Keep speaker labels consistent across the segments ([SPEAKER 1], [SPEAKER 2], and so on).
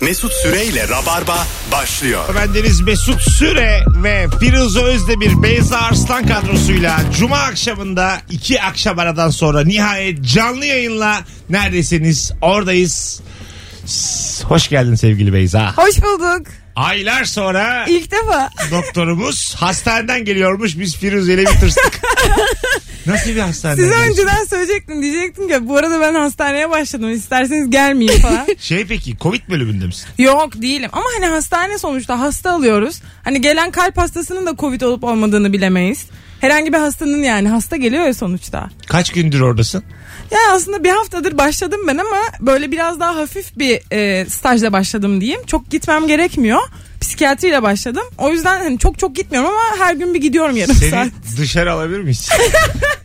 [SPEAKER 1] Mesut Süreyle Rabarba başlıyor.
[SPEAKER 2] Bendeniz Mesut Süre ve Firuze Özdemir Beyza Arslan kadrosuyla Cuma akşamında iki akşam aradan sonra nihayet canlı yayınla neredesiniz oradayız. S- Hoş geldin sevgili Beyza.
[SPEAKER 3] Hoş bulduk.
[SPEAKER 2] Aylar sonra
[SPEAKER 3] İlk defa.
[SPEAKER 2] doktorumuz hastaneden geliyormuş biz Firuze ile bir tırstık. Nasıl bir hastaneden?
[SPEAKER 3] Size
[SPEAKER 2] geliyorsun?
[SPEAKER 3] önceden söyleyecektim. Diyecektim ki bu arada ben hastaneye başladım. İsterseniz gelmeyin falan.
[SPEAKER 2] Şey peki Covid bölümünde misin?
[SPEAKER 3] Yok değilim. Ama hani hastane sonuçta hasta alıyoruz. Hani gelen kalp hastasının da covid olup olmadığını bilemeyiz. Herhangi bir hastanın yani hasta geliyor ya sonuçta.
[SPEAKER 2] Kaç gündür oradasın?
[SPEAKER 3] Yani aslında bir haftadır başladım ben ama böyle biraz daha hafif bir e, stajla başladım diyeyim. Çok gitmem gerekmiyor. Psikiyatriyle başladım. O yüzden hani çok çok gitmiyorum ama her gün bir gidiyorum yarım
[SPEAKER 2] Seni
[SPEAKER 3] saat.
[SPEAKER 2] dışarı alabilir miyiz?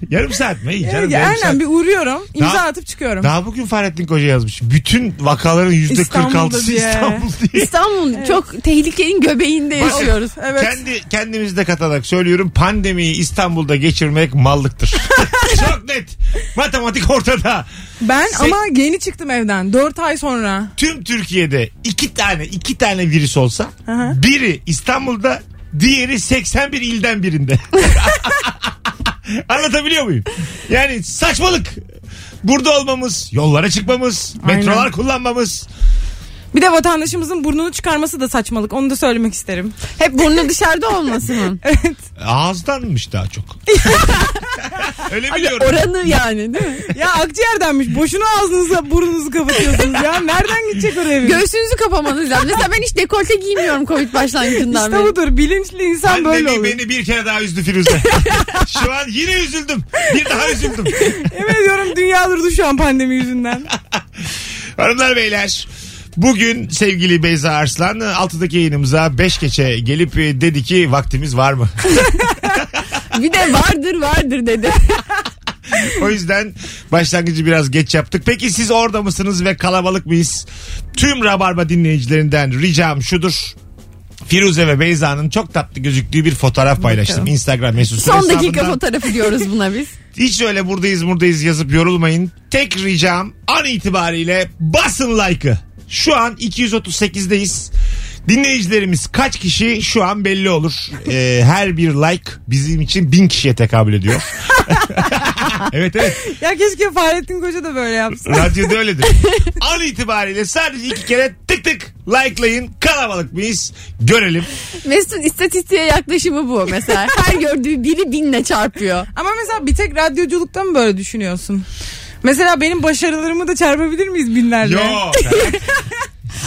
[SPEAKER 2] yarım saat mi? İyi Canım, yarım saat.
[SPEAKER 3] Ee, Aynen bir uğruyorum. imza
[SPEAKER 2] Daha-
[SPEAKER 3] atıp çıkıyorum.
[SPEAKER 2] Daha bugün Fahrettin Koca yazmış. Bütün vakaların yüzde
[SPEAKER 3] İstanbul'da
[SPEAKER 2] 46'sı
[SPEAKER 3] diye.
[SPEAKER 2] İstanbul diye.
[SPEAKER 4] İstanbul çok tehlikenin göbeğinde yaşıyoruz.
[SPEAKER 3] Evet.
[SPEAKER 2] Kendi kendimizde katarak söylüyorum pandemiyi İstanbul'da geçirmek mallıktır. Çok net. Matematik ortada.
[SPEAKER 3] Ben
[SPEAKER 2] Se-
[SPEAKER 3] ama yeni çıktım evden. 4 ay sonra.
[SPEAKER 2] Tüm Türkiye'de iki tane iki tane virüs olsa
[SPEAKER 3] hı.
[SPEAKER 2] biri İstanbul'da diğeri 81 ilden birinde. Anlatabiliyor muyum? Yani saçmalık. Burada olmamız, yollara çıkmamız,
[SPEAKER 3] Aynen.
[SPEAKER 2] metrolar kullanmamız.
[SPEAKER 3] Bir de vatandaşımızın burnunu çıkarması da saçmalık. Onu da söylemek isterim.
[SPEAKER 4] Hep burnu dışarıda olması mı?
[SPEAKER 3] Evet.
[SPEAKER 2] Ağızdanmış daha çok. Öyle biliyorum.
[SPEAKER 4] Oranı yani değil mi?
[SPEAKER 3] Ya akciğerdenmiş. Boşuna ağzınıza burnunuzu kapatıyorsunuz ya. Nereden gidecek oraya? virüs?
[SPEAKER 4] Göğsünüzü kapamanız lazım. Mesela ben hiç dekolte giymiyorum Covid başlangıcından
[SPEAKER 3] İşte
[SPEAKER 4] beri.
[SPEAKER 3] budur. Bilinçli insan
[SPEAKER 2] Annemi
[SPEAKER 3] böyle oluyor.
[SPEAKER 2] beni bir kere daha üzdü Firuze. Şu an yine üzüldüm. Bir daha üzüldüm.
[SPEAKER 3] Yemin ediyorum dünya durdu şu an pandemi yüzünden.
[SPEAKER 2] Hanımlar beyler. Bugün sevgili Beyza Arslan 6'daki yayınımıza 5 geçe gelip e, dedi ki vaktimiz var mı?
[SPEAKER 4] Bir de vardır vardır dedi.
[SPEAKER 2] o yüzden başlangıcı biraz geç yaptık. Peki siz orada mısınız ve kalabalık mıyız? Tüm Rabarba dinleyicilerinden ricam şudur. Firuze ve Beyza'nın çok tatlı gözüktüğü bir fotoğraf paylaştım. Instagram mesut Süre
[SPEAKER 4] Son dakika
[SPEAKER 2] hesabından.
[SPEAKER 4] fotoğrafı diyoruz buna biz.
[SPEAKER 2] Hiç öyle buradayız buradayız yazıp yorulmayın. Tek ricam an itibariyle basın like'ı. Şu an 238'deyiz. Dinleyicilerimiz kaç kişi şu an belli olur. Ee, her bir like bizim için bin kişiye tekabül ediyor. evet evet.
[SPEAKER 3] Ya keşke Fahrettin Koca da böyle yapsın.
[SPEAKER 2] Radyoda öyledir. An itibariyle sadece iki kere tık tık likelayın. Kalabalık mıyız? Görelim.
[SPEAKER 4] Mesut'un istatistiğe yaklaşımı bu mesela. Her gördüğü biri binle çarpıyor.
[SPEAKER 3] Ama mesela bir tek radyoculukta mı böyle düşünüyorsun? Mesela benim başarılarımı da çarpabilir miyiz binlerle?
[SPEAKER 2] Yo.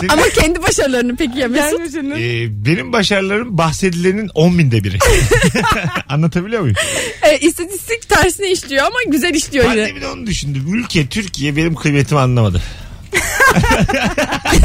[SPEAKER 4] Ama kendi başarılarını peki ya Mesut?
[SPEAKER 3] Yani şunu-
[SPEAKER 2] Ee, benim başarılarım bahsedilenin on binde biri. Anlatabiliyor muyum?
[SPEAKER 4] E, istatistik tersine işliyor ama güzel işliyor yine.
[SPEAKER 2] Pandemi de onu düşündü. Ülke, Türkiye benim kıymetimi anlamadı.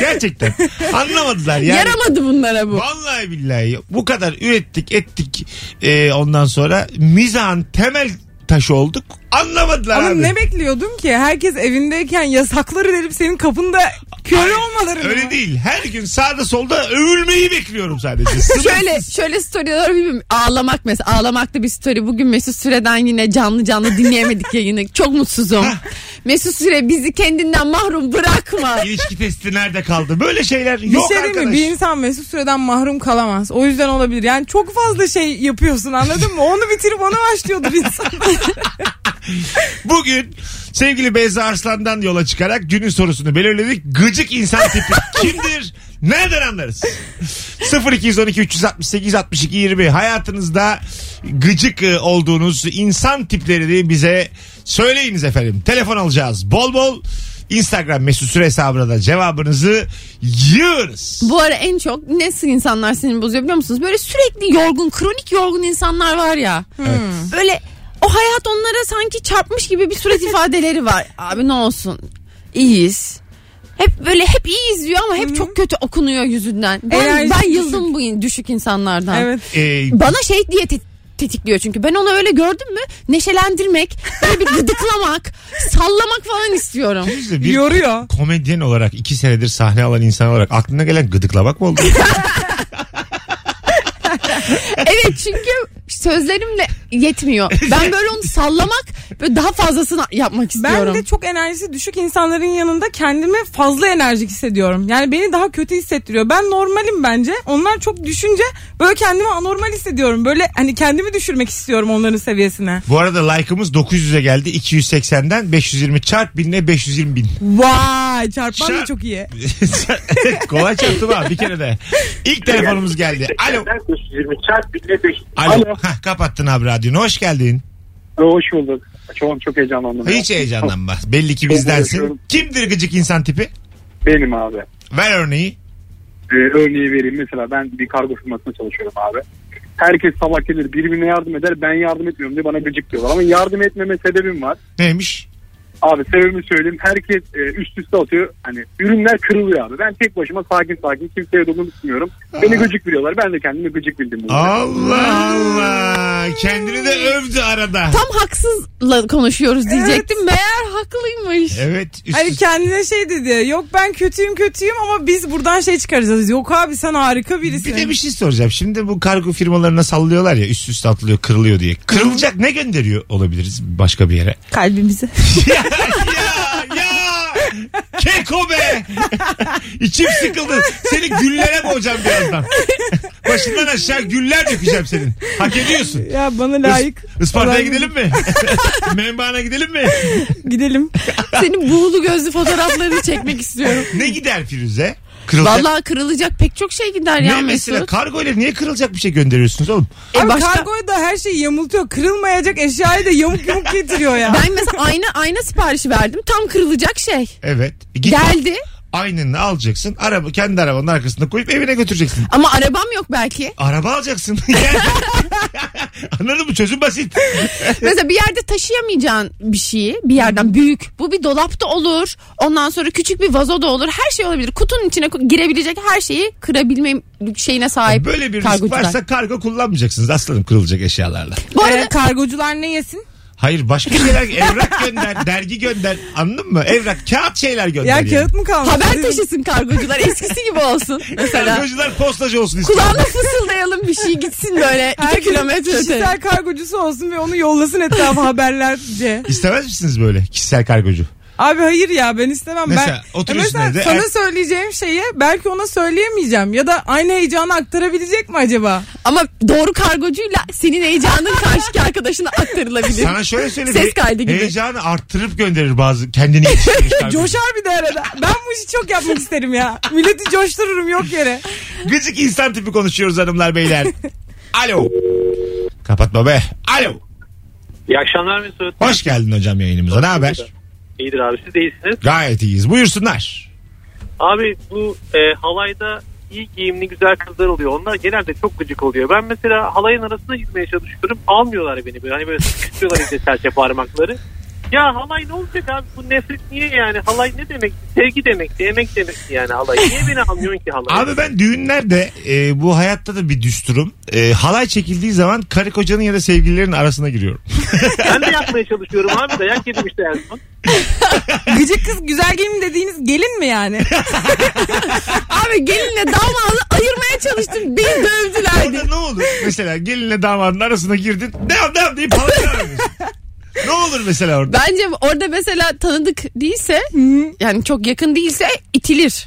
[SPEAKER 2] Gerçekten. Anlamadılar yani.
[SPEAKER 4] Yaramadı bunlara bu.
[SPEAKER 2] Vallahi billahi bu kadar ürettik ettik Ee, ondan sonra mizahın temel taşı olduk. Anlamadılar
[SPEAKER 3] Ama
[SPEAKER 2] abi.
[SPEAKER 3] ne bekliyordun ki? Herkes evindeyken yasakları verip senin kapında köle olmaları
[SPEAKER 2] Öyle
[SPEAKER 3] mı?
[SPEAKER 2] değil. Her gün sağda solda övülmeyi bekliyorum sadece. Sınırsız.
[SPEAKER 4] Şöyle şöyle storyler bilmiyorum. Ağlamak mesela ağlamaklı bir story. Bugün Mesut Süre'den yine canlı canlı dinleyemedik yayını. Çok mutsuzum. Mesut Süre bizi kendinden mahrum bırakma.
[SPEAKER 2] İlişki testi nerede kaldı? Böyle şeyler
[SPEAKER 3] Bir
[SPEAKER 2] yok
[SPEAKER 3] şey değil
[SPEAKER 2] arkadaş.
[SPEAKER 3] mi? Bir insan mesut süreden mahrum kalamaz. O yüzden olabilir. Yani çok fazla şey yapıyorsun anladın mı? Onu bitirip ona başlıyordur insan.
[SPEAKER 2] Bugün sevgili Beyza Arslan'dan yola çıkarak günün sorusunu belirledik. Gıcık insan tipi kimdir? Nereden anlarız? 0212 368 62 20 hayatınızda gıcık e, olduğunuz insan tiplerini bize söyleyiniz efendim. Telefon alacağız bol bol. Instagram mesut süre hesabına da cevabınızı yığınız.
[SPEAKER 4] Bu ara en çok nasıl insanlar sinir bozuyor biliyor musunuz? Böyle sürekli yorgun, kronik yorgun insanlar var ya. Hmm. Böyle o hayat onlara sanki çarpmış gibi bir surat ifadeleri var. Abi ne olsun? İyiyiz. Hep böyle hep iyiyiz diyor ama hep çok kötü okunuyor yüzünden. Ben,
[SPEAKER 3] Enerjisi
[SPEAKER 4] ben yıldım bu in- düşük insanlardan.
[SPEAKER 3] evet.
[SPEAKER 2] Ee,
[SPEAKER 4] Bana şey diye te- tetikliyor çünkü. Ben onu öyle gördüm mü neşelendirmek, böyle bir gıdıklamak, sallamak falan istiyorum.
[SPEAKER 2] bir
[SPEAKER 3] Yoruyor.
[SPEAKER 2] komedyen olarak iki senedir sahne alan insan olarak aklına gelen gıdıklamak mı oldu?
[SPEAKER 4] Evet çünkü sözlerimle yetmiyor. Ben böyle onu sallamak böyle daha fazlasını yapmak istiyorum.
[SPEAKER 3] Ben de çok enerjisi düşük insanların yanında kendimi fazla enerjik hissediyorum. Yani beni daha kötü hissettiriyor. Ben normalim bence. Onlar çok düşünce böyle kendimi anormal hissediyorum. Böyle hani kendimi düşürmek istiyorum onların seviyesine.
[SPEAKER 2] Bu arada like'ımız 900'e geldi. 280'den 520 çarp 1000'e 520 bin.
[SPEAKER 3] Vay çarpman
[SPEAKER 2] Şa-
[SPEAKER 3] da çok iyi.
[SPEAKER 2] Kolay çarptım ha bir kere de. İlk telefonumuz geldi. Alo.
[SPEAKER 5] 20 çarp 1500.
[SPEAKER 2] Alo. Hah, kapattın abi radyonu. Hoş geldin.
[SPEAKER 5] Hoş bulduk. Çok, çok heyecanlandım.
[SPEAKER 2] Hiç heyecanlanma. Belli ki bizdensin.
[SPEAKER 5] Çok
[SPEAKER 2] Kimdir gıcık insan tipi?
[SPEAKER 5] Benim abi.
[SPEAKER 2] Ver örneği.
[SPEAKER 5] Ee, örneği vereyim. Mesela ben bir kargo firmasında çalışıyorum abi. Herkes sabah gelir birbirine yardım eder. Ben yardım etmiyorum diye bana gıcık diyorlar. Ama yardım etmeme sebebim var.
[SPEAKER 2] Neymiş?
[SPEAKER 5] Abi sebebimi söyleyeyim. Herkes e, üst üste atıyor. Hani ürünler kırılıyor abi. Ben tek başıma sakin sakin kimseye dokunmak istemiyorum. Beni gıcık biliyorlar. Ben de kendimi gıcık bildim. bunu.
[SPEAKER 2] Allah Allah. Kendini de övdü arada.
[SPEAKER 4] Tam haksızla konuşuyoruz diyecektim. Meğer haklıymış.
[SPEAKER 2] Evet. üst
[SPEAKER 3] Hani
[SPEAKER 2] üste-
[SPEAKER 3] kendine şey dedi. Yok ben kötüyüm kötüyüm ama biz buradan şey çıkaracağız. Yok abi sen harika birisin.
[SPEAKER 2] Bir de bir şey soracağım. Şimdi bu kargo firmalarına sallıyorlar ya üst üste atlıyor kırılıyor diye. Kırılacak ne gönderiyor olabiliriz başka bir yere?
[SPEAKER 3] Kalbimizi.
[SPEAKER 2] ya ya ya. Keko be. İçim sıkıldı. Seni güllere boğacağım birazdan. Başından aşağı güller dökeceğim senin. Hak ediyorsun.
[SPEAKER 3] ya bana layık.
[SPEAKER 2] Isparta'ya
[SPEAKER 3] olan-
[SPEAKER 2] gidelim mi? Membana gidelim mi?
[SPEAKER 3] Gidelim.
[SPEAKER 4] Senin buğulu gözlü fotoğraflarını çekmek istiyorum.
[SPEAKER 2] Ne gider Firuze? Kırılacak.
[SPEAKER 4] Vallahi kırılacak pek çok şey gider ya
[SPEAKER 2] ne mesela
[SPEAKER 4] Mesut.
[SPEAKER 2] kargo ile niye kırılacak bir şey gönderiyorsunuz oğlum?
[SPEAKER 4] E
[SPEAKER 3] Abi
[SPEAKER 4] başka-
[SPEAKER 3] kargoya da her şeyi yamultuyor. Kırılmayacak eşyayı da yamuk yamuk getiriyor ya.
[SPEAKER 4] Ben mesela ayna ayna siparişi verdim. Tam kırılacak şey.
[SPEAKER 2] Evet. Git
[SPEAKER 4] Geldi
[SPEAKER 2] aynını alacaksın. Araba kendi arabanın arkasına koyup evine götüreceksin.
[SPEAKER 4] ama arabam yok belki.
[SPEAKER 2] Araba alacaksın. Yani- Anladın mı? Çözüm basit.
[SPEAKER 4] Mesela bir yerde taşıyamayacağın bir şeyi bir yerden büyük. Bu bir dolapta olur. Ondan sonra küçük bir vazo da olur. Her şey olabilir. Kutunun içine ko- girebilecek her şeyi kırabilme şeyine sahip.
[SPEAKER 2] Böyle bir risk
[SPEAKER 4] kargocular.
[SPEAKER 2] varsa kargo kullanmayacaksınız aslanım kırılacak eşyalarla.
[SPEAKER 4] Bu arada
[SPEAKER 3] Ee, kargocular ne yesin?
[SPEAKER 2] Hayır başka şeyler evrak gönder, dergi gönder. Anladın mı? Evrak, kağıt şeyler gönder.
[SPEAKER 3] Ya
[SPEAKER 2] yani.
[SPEAKER 3] kağıt mı kalmış?
[SPEAKER 4] haber
[SPEAKER 3] Sizin-
[SPEAKER 4] taşısın kargocular. Eskisi gibi olsun mesela.
[SPEAKER 2] Kargocular postacı olsun istiyor.
[SPEAKER 4] Kulağına fısıldayalım bir şey gitsin böyle
[SPEAKER 3] Her
[SPEAKER 4] 2 kilometre öte.
[SPEAKER 3] Kişisel kargocusu olsun ve onu yollasın etrafa haberlerce.
[SPEAKER 2] İstemez misiniz böyle kişisel kargocu?
[SPEAKER 3] Abi hayır ya ben istemem.
[SPEAKER 2] Mesela
[SPEAKER 3] ben,
[SPEAKER 2] otur
[SPEAKER 3] Ya mesela
[SPEAKER 2] üstüne de-
[SPEAKER 3] sana
[SPEAKER 2] er-
[SPEAKER 3] söyleyeceğim şeyi belki ona söyleyemeyeceğim. Ya da aynı heyecanı aktarabilecek mi acaba?
[SPEAKER 4] Ama doğru kargocuyla senin heyecanın karşıki arkadaşına aktarılabilir.
[SPEAKER 2] Sana şöyle söyleyeyim.
[SPEAKER 4] Ses kaydı gibi.
[SPEAKER 2] Heyecanı arttırıp gönderir bazı kendini yetiştirmiş kargocu.
[SPEAKER 3] Coşar bir de arada. Ben bu işi çok yapmak isterim ya. Milleti coştururum yok yere.
[SPEAKER 2] Gıcık insan tipi konuşuyoruz hanımlar beyler. Alo. Kapatma be. Alo.
[SPEAKER 6] İyi akşamlar Mesut.
[SPEAKER 2] Hoş geldin hocam yayınımıza. Ne haber?
[SPEAKER 6] İyidir abi siz de iyisiniz.
[SPEAKER 2] Gayet iyiyiz. Buyursunlar.
[SPEAKER 6] Abi bu e, halayda iyi giyimli güzel kızlar oluyor. Onlar genelde çok gıcık oluyor. Ben mesela halayın arasına gitmeye çalışıyorum. Almıyorlar beni böyle. Hani böyle sıkıştırıyorlar işte serçe parmakları. Ya halay ne olacak abi? Bu nefret niye yani? Halay ne demek? Sevgi demekti, emek demekti yani halay. Niye beni almıyorsun ki halay?
[SPEAKER 2] Abi ben düğünlerde e, bu hayatta da bir düsturum. E, halay çekildiği zaman karı kocanın ya da sevgililerin arasına giriyorum.
[SPEAKER 6] Ben de yapmaya çalışıyorum abi. Dayak yedim işte en son.
[SPEAKER 3] Gıcık kız güzel gelin dediğiniz gelin mi yani?
[SPEAKER 4] Abi gelinle damadı ayırmaya çalıştım. Beni dövdülerdi.
[SPEAKER 2] Orada ne olur? Mesela gelinle damadın arasına girdin. Devam devam deyip halay devam ediyorsun. Ne olur mesela orada?
[SPEAKER 4] Bence orada mesela tanıdık değilse yani çok yakın değilse itilir.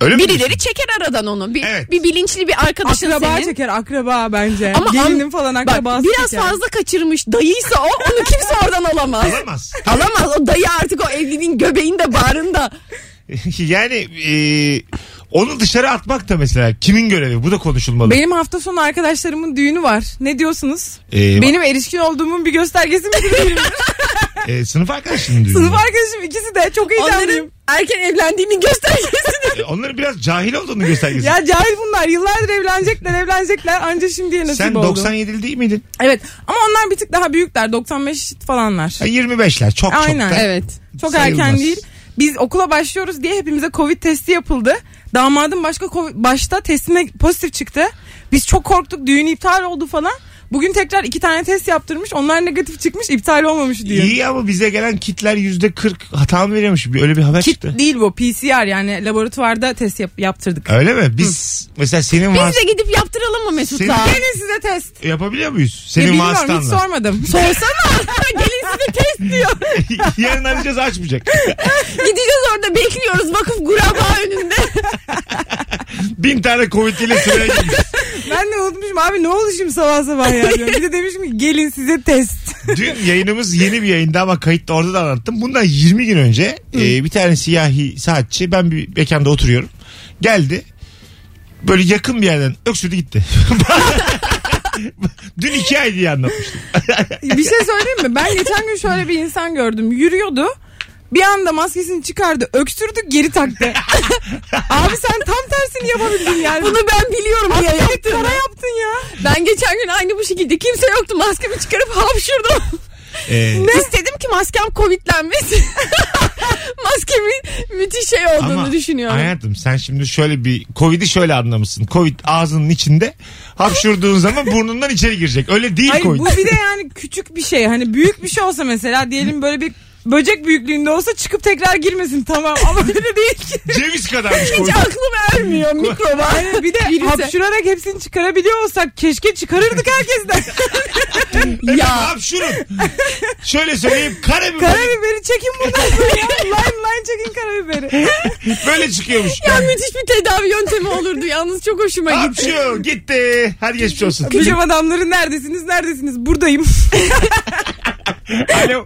[SPEAKER 2] Öyle mi? diyorsun?
[SPEAKER 4] Birileri çeker aradan onu. Bir,
[SPEAKER 2] Evet.
[SPEAKER 4] bir bilinçli bir arkadaşın
[SPEAKER 3] akraba
[SPEAKER 4] senin.
[SPEAKER 3] çeker akraba bence.
[SPEAKER 4] Ama
[SPEAKER 3] Gelinin
[SPEAKER 4] am-
[SPEAKER 3] falan
[SPEAKER 4] Bak,
[SPEAKER 3] akrabası
[SPEAKER 4] biraz
[SPEAKER 3] çeker.
[SPEAKER 4] fazla kaçırmış dayıysa o onu kimse oradan alamaz.
[SPEAKER 2] Alamaz.
[SPEAKER 4] Alamaz o dayı artık o evliliğin göbeğinde bağrında.
[SPEAKER 2] yani e, onu dışarı atmak da mesela kimin görevi? Bu da konuşulmalı.
[SPEAKER 3] Benim hafta sonu arkadaşlarımın düğünü var. Ne diyorsunuz?
[SPEAKER 2] E,
[SPEAKER 3] Benim erişkin olduğumun bir göstergesi mi bilmiyorum.
[SPEAKER 2] e, sınıf arkadaşının düğünü.
[SPEAKER 3] Sınıf arkadaşım ikisi de çok
[SPEAKER 4] Onların
[SPEAKER 3] heyecanlıyım.
[SPEAKER 4] erken evlendiğinin göstergesini.
[SPEAKER 2] E, Onların biraz cahil olduğunu göstergesi.
[SPEAKER 3] Ya cahil bunlar. Yıllardır evlenecekler evlenecekler. Anca şimdiye nasip
[SPEAKER 2] Sen
[SPEAKER 3] oldu.
[SPEAKER 2] 97'li değil miydin?
[SPEAKER 3] Evet ama onlar bir tık daha büyükler. 95 falanlar.
[SPEAKER 2] Ha, 25'ler çok
[SPEAKER 3] Aynen.
[SPEAKER 2] çok. da-
[SPEAKER 4] evet.
[SPEAKER 3] Çok
[SPEAKER 2] sayılmaz.
[SPEAKER 3] erken değil. Biz okula başlıyoruz diye hepimize covid testi yapıldı. Damadım başka COVID başta testine pozitif çıktı. Biz çok korktuk düğün iptal oldu falan. Bugün tekrar iki tane test yaptırmış. Onlar negatif çıkmış iptal olmamış diye.
[SPEAKER 2] İyi ama bize gelen kitler yüzde kırk hata mı veriyormuş? Bir- Öyle bir haber
[SPEAKER 3] Kit
[SPEAKER 2] çıktı.
[SPEAKER 3] değil bu PCR yani laboratuvarda test yap- yaptırdık.
[SPEAKER 2] Öyle mi? Biz mesela senin
[SPEAKER 4] Biz
[SPEAKER 2] vasıtan
[SPEAKER 4] de gidip yaptıralım mı Mesut'a?
[SPEAKER 2] Senin-
[SPEAKER 3] Gelin size test.
[SPEAKER 2] yapabiliyor muyuz?
[SPEAKER 3] Ya
[SPEAKER 2] Senin
[SPEAKER 3] bilmiyorum, hiç
[SPEAKER 2] vasıtanla.
[SPEAKER 3] sormadım.
[SPEAKER 4] Sorsana. Gelin size test diyor.
[SPEAKER 2] Yarın arayacağız açmayacak.
[SPEAKER 4] Gideceğiz orada bekliyoruz vakıf guraba önünde.
[SPEAKER 2] Bin tane Covid'li sıraya girmiş.
[SPEAKER 3] Ben de unutmuşum abi ne oldu şimdi sabah sabah ya. diyorum. Bir de demişim ki gelin size test.
[SPEAKER 2] Dün yayınımız yeni bir yayında ama kayıtta orada da anlattım. Bundan 20 gün önce e, bir tane siyahi saatçi ben bir mekanda oturuyorum. Geldi. Böyle yakın bir yerden öksürdü gitti. Dün iki ay diye anlatmıştım.
[SPEAKER 3] Bir şey söyleyeyim mi? Ben geçen gün şöyle bir insan gördüm. Yürüyordu. Bir anda maskesini çıkardı. Öksürdü geri taktı. abi sen tam tersini yapabildin yani.
[SPEAKER 4] Bunu ben biliyorum diye yaptım.
[SPEAKER 3] Para yaptın ya.
[SPEAKER 4] Ben geçen gün aynı bu şekilde kimse yoktu maskemi çıkarıp hapşırdım.
[SPEAKER 2] E,
[SPEAKER 4] İstedim ki maskem covidlenmesin. Maskemi müthiş şey olduğunu düşünüyorum.
[SPEAKER 2] hayatım sen şimdi şöyle bir Covid'i şöyle anlamışsın. Covid ağzının içinde hapşurduğun zaman burnundan içeri girecek. Öyle değil
[SPEAKER 3] Hayır
[SPEAKER 2] Covid.
[SPEAKER 3] bu bir de yani küçük bir şey. Hani büyük bir şey olsa mesela diyelim böyle bir böcek büyüklüğünde olsa çıkıp tekrar girmesin tamam ama öyle değil ki.
[SPEAKER 2] Ceviz kadarmış
[SPEAKER 4] Hiç
[SPEAKER 2] Covid.
[SPEAKER 4] aklım ermiyor mikroba.
[SPEAKER 3] Yani bir de
[SPEAKER 4] Virüse.
[SPEAKER 3] hapşırarak hepsini çıkarabiliyor olsak keşke çıkarırdık herkesten.
[SPEAKER 4] ya
[SPEAKER 2] Hapşurun. Şöyle söyleyeyim karabiber
[SPEAKER 3] Karabiberi çekin buradan sonra ya. Line line çekin karabiberi.
[SPEAKER 2] böyle çıkıyormuş.
[SPEAKER 4] ya müthiş bir tedavi yöntemi olurdu yalnız çok hoşuma gitti.
[SPEAKER 2] Hapşu gitti. Hadi geçmiş olsun.
[SPEAKER 3] Bilim adamları neredesiniz neredesiniz buradayım.
[SPEAKER 2] Alo.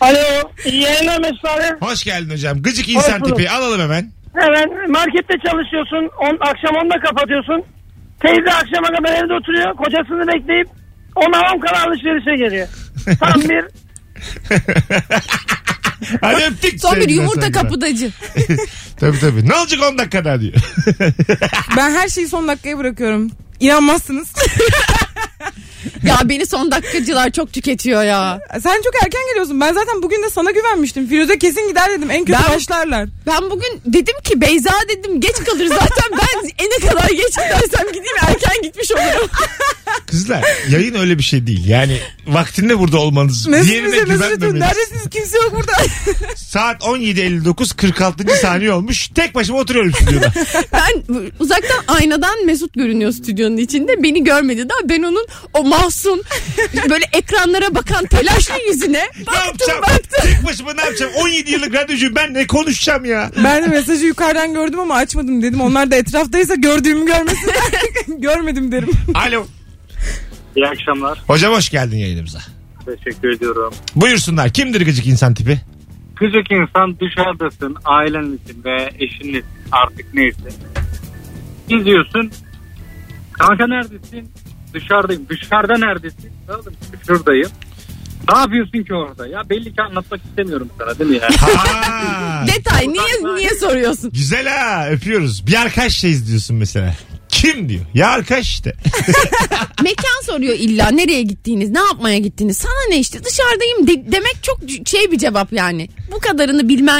[SPEAKER 7] Alo. iyi Yayınlar Mesut abi.
[SPEAKER 2] Hoş geldin hocam. Gıcık insan
[SPEAKER 7] Hoş bulduk.
[SPEAKER 2] tipi. Alalım hemen.
[SPEAKER 7] Hemen markette çalışıyorsun. On, akşam 10'da kapatıyorsun. Teyze akşama kadar evde oturuyor. Kocasını bekleyip ona 10 kadar alışverişe geliyor. Tam bir
[SPEAKER 2] Hadi öptük.
[SPEAKER 4] Son bir
[SPEAKER 2] sevgiler,
[SPEAKER 4] yumurta
[SPEAKER 2] saygılar.
[SPEAKER 4] kapıdacı.
[SPEAKER 2] tabii tabii. Ne olacak 10 dakikada diyor.
[SPEAKER 3] Ben her şeyi son dakikaya bırakıyorum. İnanmazsınız.
[SPEAKER 4] Ya beni son dakikacılar çok tüketiyor ya.
[SPEAKER 3] Sen çok erken geliyorsun. Ben zaten bugün de sana güvenmiştim. Firuze kesin gider dedim. En kötü
[SPEAKER 4] Ben-
[SPEAKER 3] başlarlar.
[SPEAKER 4] Ben bugün dedim ki Beyza dedim geç kalır zaten ben e ne kadar geç gidersem gideyim erken gitmiş olurum.
[SPEAKER 2] Kızlar yayın öyle bir şey değil. Yani vaktinde burada olmanız.
[SPEAKER 3] Mesut
[SPEAKER 2] diğerine
[SPEAKER 3] bize mesaj atıyor.
[SPEAKER 2] güvenmemeniz.
[SPEAKER 3] Neredesiniz? Kimse yok burada.
[SPEAKER 2] Saat 17.59 46. saniye olmuş. Tek başıma oturuyorum stüdyoda.
[SPEAKER 4] Ben uzaktan aynadan Mesut görünüyor stüdyonun içinde. Beni görmedi daha ben onun o mahzun böyle ekranlara bakan telaşlı yüzüne
[SPEAKER 2] ne
[SPEAKER 4] baktım
[SPEAKER 2] yapacağım?
[SPEAKER 4] baktım.
[SPEAKER 2] Tek başıma ne yapacağım? 17 yıllık radyocuyum ben ne konuşacağım ya?
[SPEAKER 3] Ben de mesajı yukarıdan gördüm ama açmadım dedim. Onlar da etraftaysa gördüğümü görmesinler. Görmedim derim.
[SPEAKER 2] Alo.
[SPEAKER 6] İyi akşamlar.
[SPEAKER 2] Hocam hoş geldin yayınımıza.
[SPEAKER 6] Teşekkür ediyorum.
[SPEAKER 2] Buyursunlar. Kimdir gıcık insan tipi?
[SPEAKER 6] Gıcık insan dışarıdasın, ailen için ve eşin için artık neyse. Geziyorsun. Kanka neredesin? Dışarıdayım. Dışarıda neredesin? Anladın mı? Şuradayım. Ne yapıyorsun ki orada? Ya belli ki anlatmak istemiyorum sana değil mi ya?
[SPEAKER 2] Ha.
[SPEAKER 4] Detay niye niye soruyorsun?
[SPEAKER 2] Güzel ha öpüyoruz. Bir arkadaş şey izliyorsun mesela. Kim diyor? Ya arkadaş işte.
[SPEAKER 4] Mekan soruyor illa nereye gittiğiniz, ne yapmaya gittiğiniz. Sana ne işte dışarıdayım de- demek çok c- şey bir cevap yani. Bu kadarını bilmen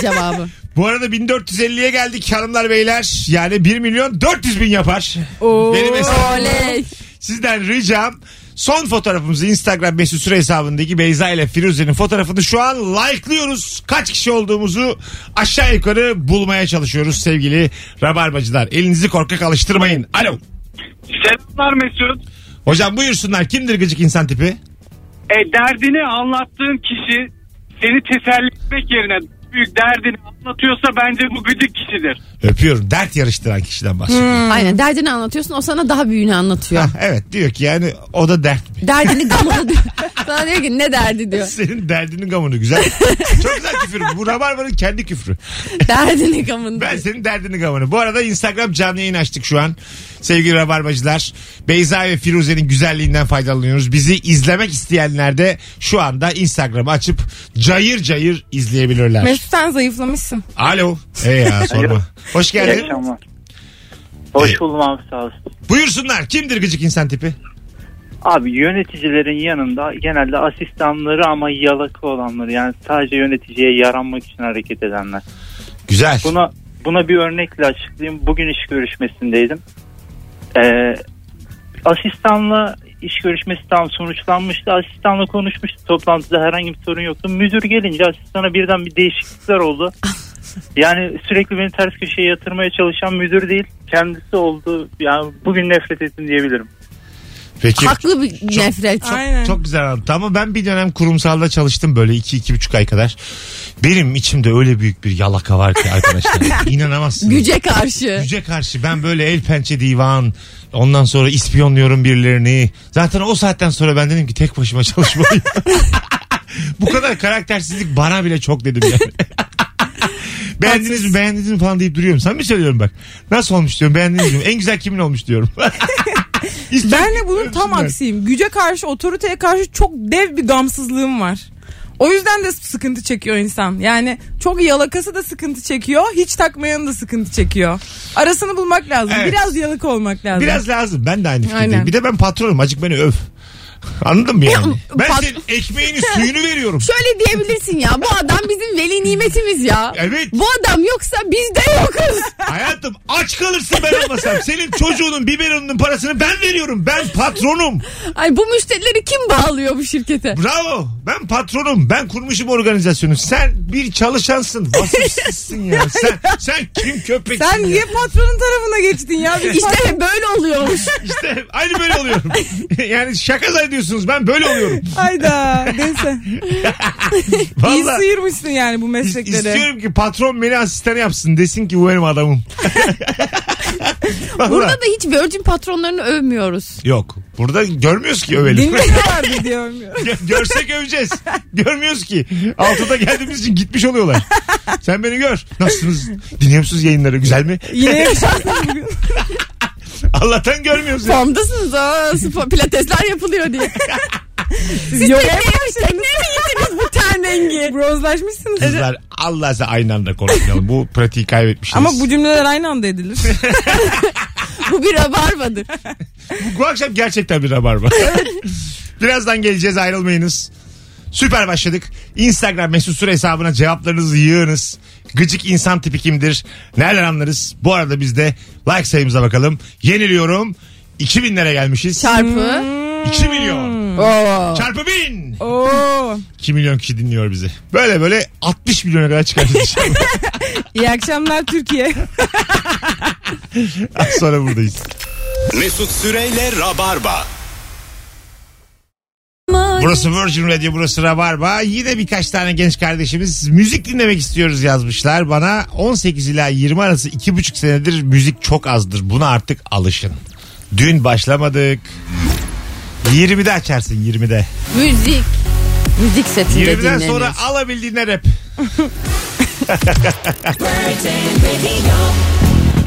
[SPEAKER 4] cevabı.
[SPEAKER 2] Bu arada 1450'ye geldik hanımlar beyler. Yani 1 milyon 400 bin yapar. Benim hesabım.
[SPEAKER 4] Oley.
[SPEAKER 2] Sizden ricam son fotoğrafımızı Instagram mesut süre hesabındaki Beyza ile Firuze'nin fotoğrafını şu an like'lıyoruz. Kaç kişi olduğumuzu aşağı yukarı bulmaya çalışıyoruz sevgili rabarbacılar. Elinizi korkak alıştırmayın. Alo.
[SPEAKER 5] Selamlar Mesut.
[SPEAKER 2] Hocam buyursunlar kimdir gıcık insan tipi?
[SPEAKER 5] E, derdini anlattığın kişi seni teselli etmek yerine büyük derdini anlatıyorsa bence bu gıcık kişidir.
[SPEAKER 2] Öpüyorum. Dert yarıştıran kişiden bahsediyorum.
[SPEAKER 4] Aynen derdini anlatıyorsun o sana daha büyüğünü anlatıyor.
[SPEAKER 2] Ah, Evet diyor ki yani o da dert.
[SPEAKER 4] Derdini gamını diyor. Sana diyor ki ne derdi diyor.
[SPEAKER 2] Senin derdinin gamını güzel. Çok güzel küfür. Bu Rabarba'nın kendi küfrü.
[SPEAKER 4] Derdini gamını
[SPEAKER 2] Ben
[SPEAKER 4] diyor.
[SPEAKER 2] senin derdini gamını. Bu arada Instagram canlı yayın açtık şu an. Sevgili Rabarbacılar. Beyza ve Firuze'nin güzelliğinden faydalanıyoruz. Bizi izlemek isteyenler de şu anda Instagram'ı açıp cayır cayır izleyebilirler.
[SPEAKER 3] Mesut sen zayıflamışsın.
[SPEAKER 2] Alo. Ee ya sorma. Hoş geldin. Hoş
[SPEAKER 8] buldum abi sağ olsun.
[SPEAKER 2] Buyursunlar. Kimdir gıcık insan tipi?
[SPEAKER 8] Abi yöneticilerin yanında genelde asistanları ama yalaka olanları yani sadece yöneticiye yaranmak için hareket edenler.
[SPEAKER 2] Güzel.
[SPEAKER 8] Buna buna bir örnekle açıklayayım. Bugün iş görüşmesindeydim. Ee, asistanla iş görüşmesi tam sonuçlanmıştı. Asistanla konuşmuştu. Toplantıda herhangi bir sorun yoktu. Müdür gelince asistana birden bir değişiklikler oldu. Yani sürekli beni ters köşeye yatırmaya çalışan müdür değil. Kendisi oldu. Yani bugün nefret ettim diyebilirim.
[SPEAKER 2] Peki.
[SPEAKER 4] Haklı bir nefret.
[SPEAKER 3] Aynen.
[SPEAKER 2] Çok güzel anlattı ama ben bir dönem kurumsalda çalıştım böyle iki iki buçuk ay kadar. Benim içimde öyle büyük bir yalaka var ki arkadaşlar. İnanamazsınız.
[SPEAKER 4] Güce karşı.
[SPEAKER 2] Güce karşı ben böyle el pençe divan ondan sonra ispiyonluyorum birilerini. Zaten o saatten sonra ben dedim ki tek başıma çalışmalıyım. Bu kadar karaktersizlik bana bile çok dedim yani. beğendiniz mi beğendiniz mi falan deyip duruyorum. Sen mi söylüyorum bak. Nasıl olmuş diyorum beğendiniz mi? En güzel kimin olmuş diyorum. İstiyorum
[SPEAKER 3] Ben de
[SPEAKER 2] ki
[SPEAKER 3] bunun tam
[SPEAKER 2] görsünler.
[SPEAKER 3] aksiyim. Güce karşı, otoriteye karşı çok dev bir gamsızlığım var. O yüzden de sıkıntı çekiyor insan. Yani çok yalakası da sıkıntı çekiyor, hiç takmayanı da sıkıntı çekiyor. Arasını bulmak lazım.
[SPEAKER 2] Evet.
[SPEAKER 3] Biraz yalak olmak lazım.
[SPEAKER 2] Biraz lazım. Ben de aynı fikirdeyim.
[SPEAKER 3] Aynen.
[SPEAKER 2] Bir de ben patronum. Acık beni öv. Anladın mı yani? ben
[SPEAKER 4] pat-
[SPEAKER 2] senin ekmeğini suyunu veriyorum.
[SPEAKER 4] Şöyle diyebilirsin ya bu adam bizim veli nimetimiz ya.
[SPEAKER 2] Evet.
[SPEAKER 4] Bu adam yoksa biz de yokuz.
[SPEAKER 2] Hayatım aç kalırsın ben olmasam. Senin çocuğunun biberonunun parasını ben veriyorum. Ben patronum.
[SPEAKER 4] Ay bu müşterileri kim bağlıyor bu şirkete?
[SPEAKER 2] Bravo. Ben patronum. Ben kurmuşum organizasyonu. Sen bir çalışansın. Vasıfsızsın ya. Sen, sen kim köpeksin?
[SPEAKER 3] Sen
[SPEAKER 2] ya?
[SPEAKER 3] niye patronun tarafına geçtin ya? Bir pat-
[SPEAKER 4] İşte böyle oluyormuş.
[SPEAKER 2] İşte aynı böyle oluyorum. yani şaka zannediyorsunuz. Ben böyle oluyorum.
[SPEAKER 3] Hayda. Neyse. İyi
[SPEAKER 2] Vallahi.
[SPEAKER 3] sıyırmışsın yani bu mesleklere.
[SPEAKER 2] İstiyorum ki patron beni asistan yapsın. Desin ki bu benim adamım. Vallahi.
[SPEAKER 4] Burada da hiç Virgin patronlarını övmüyoruz.
[SPEAKER 2] Yok. Burada görmüyoruz ki övelim.
[SPEAKER 3] Dinliyorlardı diyorum ya.
[SPEAKER 2] Gö- Görsek öveceğiz. Görmüyoruz ki. Altıda geldiğimiz için gitmiş oluyorlar. Sen beni gör. Nasılsınız? Dinliyor musunuz yayınları? Güzel mi?
[SPEAKER 3] Yine yaşarsınız bugün.
[SPEAKER 2] Allah'tan görmüyoruz. ya.
[SPEAKER 4] Formdasınız ha. Spor, pilatesler yapılıyor diye.
[SPEAKER 3] Siz yok
[SPEAKER 4] Gittiniz bu ten rengi.
[SPEAKER 3] Bronzlaşmışsınız.
[SPEAKER 2] Kızlar Allah size aynı anda konuşmayalım. Bu pratiği kaybetmişiz.
[SPEAKER 3] Ama bu cümleler aynı anda edilir.
[SPEAKER 4] Bu bir rabarbadır.
[SPEAKER 2] Bu akşam gerçekten bir rabarba. Birazdan geleceğiz ayrılmayınız. Süper başladık. Instagram mesut süre hesabına cevaplarınızı yığınız. Gıcık insan tipi kimdir? Nereden anlarız? Bu arada biz de like sayımıza bakalım. Yeniliyorum. 2000'lere gelmişiz.
[SPEAKER 4] Çarpı.
[SPEAKER 3] Hmm.
[SPEAKER 2] 2 milyon.
[SPEAKER 4] Oo.
[SPEAKER 2] Çarpı 1000.
[SPEAKER 3] Oo.
[SPEAKER 2] 2 milyon kişi dinliyor bizi. Böyle böyle 60 milyona kadar çıkarız.
[SPEAKER 3] İyi akşamlar Türkiye.
[SPEAKER 2] Az sonra buradayız.
[SPEAKER 1] Mesut Süreyle Rabarba.
[SPEAKER 2] Burası Virgin Radio, burası Rabarba. Yine birkaç tane genç kardeşimiz müzik dinlemek istiyoruz yazmışlar bana. 18 ila 20 arası 2,5 senedir müzik çok azdır. Buna artık alışın. Dün başlamadık. 20'de açarsın 20'de.
[SPEAKER 4] Müzik. Müzik setinde
[SPEAKER 2] 20'den
[SPEAKER 4] dinlenir.
[SPEAKER 2] sonra alabildiğine rap.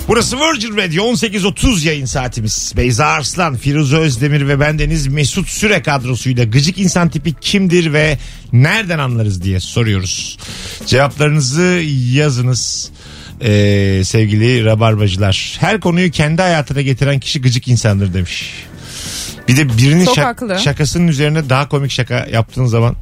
[SPEAKER 2] Burası Virgin Radio 18.30 yayın saatimiz. Beyza Arslan, Firuze Özdemir ve bendeniz Mesut Süre kadrosuyla gıcık insan tipi kimdir ve nereden anlarız diye soruyoruz. Cevaplarınızı yazınız ee, sevgili rabarbacılar. Her konuyu kendi hayatına getiren kişi gıcık insandır demiş. Bir de birinin
[SPEAKER 3] Çok
[SPEAKER 2] şak-
[SPEAKER 3] haklı.
[SPEAKER 2] şakasının üzerine daha komik şaka yaptığın zaman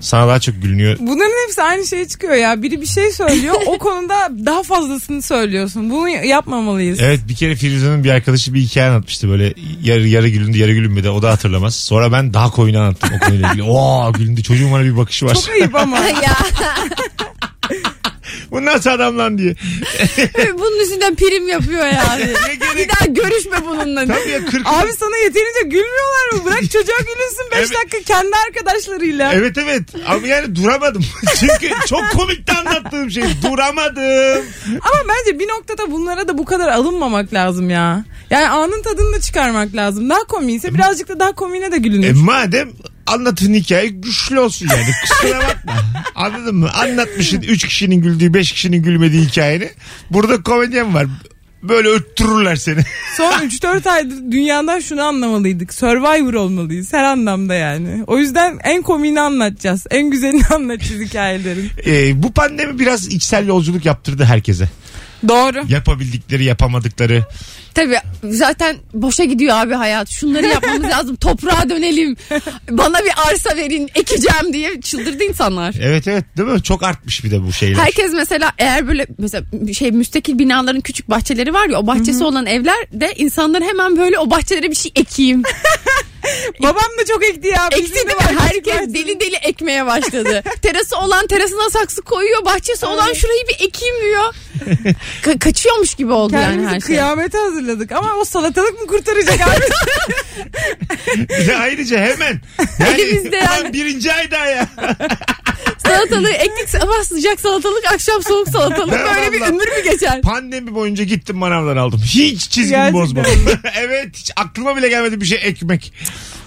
[SPEAKER 2] sana daha çok gülünüyor.
[SPEAKER 3] Bunların hepsi aynı şeye çıkıyor ya. Biri bir şey söylüyor. O konuda daha fazlasını söylüyorsun. Bunu yapmamalıyız.
[SPEAKER 2] Evet bir kere Firuze'nin bir arkadaşı bir hikaye anlatmıştı böyle yarı yarı gülündü yarı gülünmedi o da hatırlamaz. Sonra ben daha koyunu anlattım o konuyla ilgili. Oo gülündü çocuğun bana bir bakışı var.
[SPEAKER 3] Çok ayıp ama.
[SPEAKER 4] ya
[SPEAKER 2] Bu nasıl adam lan diye.
[SPEAKER 4] bunun üstünden prim yapıyor yani.
[SPEAKER 2] Ne gerek?
[SPEAKER 4] bir daha görüşme bununla.
[SPEAKER 2] Tabii ya 40
[SPEAKER 3] Abi sana yeterince gülmüyorlar mı? Bırak çocuğa gülünsün 5
[SPEAKER 2] Evet.
[SPEAKER 3] dakika kendi arkadaşlarıyla.
[SPEAKER 2] Evet evet ama yani duramadım. Çünkü çok komikti anlattığım şey. Duramadım.
[SPEAKER 3] Ama bence bir noktada bunlara da bu kadar alınmamak lazım ya. Yani anın tadını da çıkarmak lazım. Daha komikse birazcık da daha komiğine de gülünür.
[SPEAKER 2] E madem anlatın hikaye güçlü olsun yani kusura bakma. Anladın mı? Anlatmışsın 3 kişinin güldüğü 5 kişinin gülmediği hikayeni. Burada komedyen var. Böyle öttürürler seni.
[SPEAKER 3] Son 3-4 aydır dünyadan şunu anlamalıydık. Survivor olmalıyız her anlamda yani. O yüzden en komiğini anlatacağız. En güzelini anlatacağız hikayelerin.
[SPEAKER 2] Ee, bu pandemi biraz içsel yolculuk yaptırdı herkese.
[SPEAKER 3] Doğru.
[SPEAKER 2] Yapabildikleri, yapamadıkları.
[SPEAKER 4] Tabii zaten boşa gidiyor abi hayat. Şunları yapmamız lazım. Toprağa dönelim. Bana bir arsa verin ekeceğim diye çıldırdı insanlar.
[SPEAKER 2] Evet evet değil mi? Çok artmış bir de bu şeyler.
[SPEAKER 4] Herkes mesela eğer böyle mesela şey müstakil binaların küçük bahçeleri var ya o bahçesi olan evlerde insanlar hemen böyle o bahçelere bir şey ekeyim.
[SPEAKER 3] Babam da çok ekti ya. Bizim
[SPEAKER 4] Ekti
[SPEAKER 3] de
[SPEAKER 4] değil
[SPEAKER 3] var,
[SPEAKER 4] mi?
[SPEAKER 3] küçük
[SPEAKER 4] Herkes
[SPEAKER 3] bahçemiz.
[SPEAKER 4] deli deli ekmeye başladı. Terası olan terasına saksı koyuyor. Bahçesi olan şurayı bir ekeyim diyor. Ka- kaçıyormuş gibi oldu yani
[SPEAKER 3] Kendimizi
[SPEAKER 4] her şey.
[SPEAKER 3] kıyamete hazırladık ama o salatalık mı kurtaracak abi?
[SPEAKER 2] Bir de ayrıca hemen. Yani,
[SPEAKER 4] Elimizde yani.
[SPEAKER 2] Ulan birinci ayda ya.
[SPEAKER 4] Salatalığı ektik sabah sıcak salatalık akşam soğuk salatalık. Böyle bir
[SPEAKER 2] Vallahi.
[SPEAKER 4] ömür mü geçer?
[SPEAKER 2] Pandemi boyunca gittim manavlar aldım. Hiç çizgimi
[SPEAKER 3] Gerçekten.
[SPEAKER 2] bozmadım. evet hiç aklıma bile gelmedi bir şey ekmek.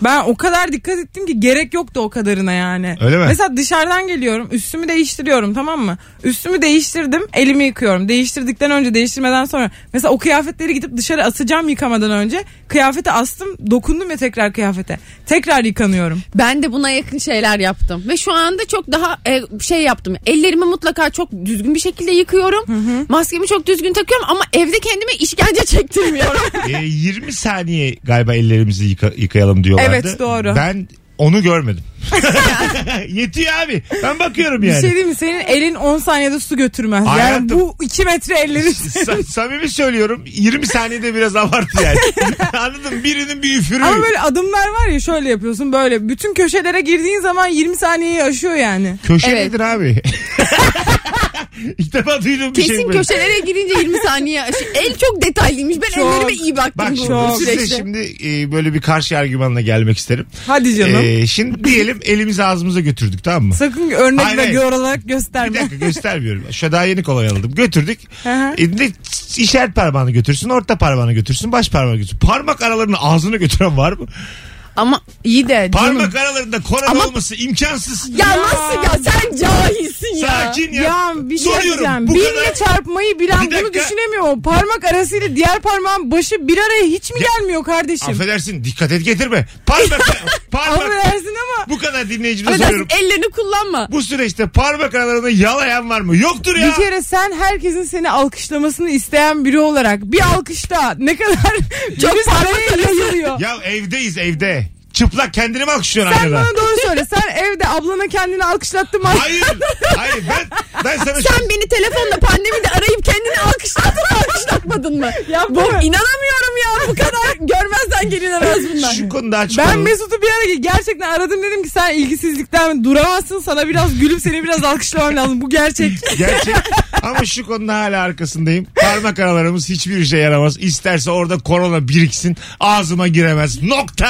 [SPEAKER 3] Ben o kadar dikkat ettim ki gerek yoktu o kadarına yani.
[SPEAKER 2] Öyle mi?
[SPEAKER 3] Mesela dışarıdan geliyorum üstümü değiştiriyorum tamam mı? Üstümü değiştirdim elimi yıkıyorum. Değiştirdikten önce değiştirmeden sonra. Mesela o kıyafetleri gidip dışarı asacağım yıkamadan önce. Kıyafeti astım dokundum ya tekrar kıyafete. Tekrar yıkanıyorum.
[SPEAKER 4] Ben de buna yakın şeyler yaptım. Ve şu anda çok daha e, şey yaptım. Ellerimi mutlaka çok düzgün bir şekilde yıkıyorum. Maskemi çok düzgün takıyorum ama evde kendime işkence çektirmiyorum.
[SPEAKER 2] Ee, 20 saniye galiba ellerimizi yıka- yıkayalım diyorlardı.
[SPEAKER 3] Evet, doğru.
[SPEAKER 2] Ben onu görmedim. Yetiyor abi. Ben bakıyorum
[SPEAKER 3] Bir
[SPEAKER 2] yani.
[SPEAKER 3] şey diyeyim mi? Senin elin 10 saniyede su götürmez. Yani
[SPEAKER 2] Hayatım.
[SPEAKER 3] bu 2 metre ellerin.
[SPEAKER 2] Sa- samimi söylüyorum 20 saniyede biraz abartı yani. Anladın mı? Birinin bir üfürüğü.
[SPEAKER 3] Ama böyle adımlar var ya şöyle yapıyorsun böyle. Bütün köşelere girdiğin zaman 20 saniyeyi aşıyor yani.
[SPEAKER 2] Köşe
[SPEAKER 4] Evet.
[SPEAKER 2] nedir abi? İlk defa duydum bir şey.
[SPEAKER 4] Kesin
[SPEAKER 2] böyle.
[SPEAKER 4] köşelere girince 20 saniye. aşıyor. El çok detaylıymış. Ben
[SPEAKER 3] Çok.
[SPEAKER 4] ellerime iyi baktım
[SPEAKER 2] Bak şimdi
[SPEAKER 4] bu
[SPEAKER 2] size
[SPEAKER 4] süreçte.
[SPEAKER 2] şimdi e, böyle bir karşı argümanla gelmek isterim.
[SPEAKER 3] Hadi canım.
[SPEAKER 2] Ee, şimdi diyelim elimizi ağzımıza götürdük tamam mı?
[SPEAKER 3] Sakın örnek
[SPEAKER 2] Hayır,
[SPEAKER 3] ve
[SPEAKER 2] hayır.
[SPEAKER 3] gör olarak
[SPEAKER 2] Bir
[SPEAKER 3] gösterme.
[SPEAKER 2] dakika göstermiyorum. Şu daha yeni kolay aldım. Götürdük.
[SPEAKER 3] Aha.
[SPEAKER 2] Elinde işaret parmağını götürsün, orta parmağını götürsün, baş parmağını götürsün. Parmak aralarını ağzını götüren var mı?
[SPEAKER 4] Ama iyi de. canım.
[SPEAKER 2] Parmak aralarında korona
[SPEAKER 4] Ama-
[SPEAKER 2] olması imkansız.
[SPEAKER 4] Ya nasıl ya sen cahilsin ya.
[SPEAKER 2] Sakin ya.
[SPEAKER 3] Ya bir şey
[SPEAKER 2] Soruyorum,
[SPEAKER 3] diyeceğim.
[SPEAKER 2] bu
[SPEAKER 3] Birle
[SPEAKER 2] kadar-
[SPEAKER 3] çarpmayı bilen
[SPEAKER 2] Bir
[SPEAKER 3] bunu
[SPEAKER 2] dakika.
[SPEAKER 3] düşünemiyor. O Parmak arasıyla diğer parmağın başı bir araya hiç mi gelmiyor kardeşim?
[SPEAKER 2] Affedersin dikkat et getirme. Parmak parmak.
[SPEAKER 3] Affedersin ama.
[SPEAKER 2] bu kadar dinleyicime
[SPEAKER 4] Affedersin,
[SPEAKER 2] soruyorum.
[SPEAKER 4] ellerini kullanma.
[SPEAKER 2] Bu süreçte parmak aralarında yalayan var mı? Yoktur ya.
[SPEAKER 3] Bir kere sen herkesin seni alkışlamasını isteyen biri olarak bir alkışta ne kadar
[SPEAKER 4] Çok
[SPEAKER 3] Virüs
[SPEAKER 4] parmak
[SPEAKER 3] araya
[SPEAKER 4] arası.
[SPEAKER 3] yayılıyor.
[SPEAKER 2] Ya evdeyiz evde. Çıplak kendini mi alkışlıyorsun
[SPEAKER 3] Sen
[SPEAKER 2] aynada?
[SPEAKER 3] bana doğru söyle. Sen evde ablana kendini alkışlattın mı?
[SPEAKER 2] Hayır. Hayır ben ben sana şu-
[SPEAKER 4] Sen beni telefonla pandemide arayıp kendini alkışlattın mı alkışlatmadın mı?
[SPEAKER 3] Yapma.
[SPEAKER 4] Bu, inanamıyorum ya bu kadar görmezden gelinemez bunlar.
[SPEAKER 2] şu konuda açık
[SPEAKER 3] Ben
[SPEAKER 2] olalım.
[SPEAKER 3] Mesut'u bir ara gerçekten aradım dedim ki sen ilgisizlikten duramazsın sana biraz gülüp seni biraz alkışlamam lazım bu gerçek.
[SPEAKER 2] Gerçek. Ama şu konuda hala arkasındayım. Parmak aralarımız hiçbir işe yaramaz. İsterse orada korona biriksin. Ağzıma giremez. Nokta.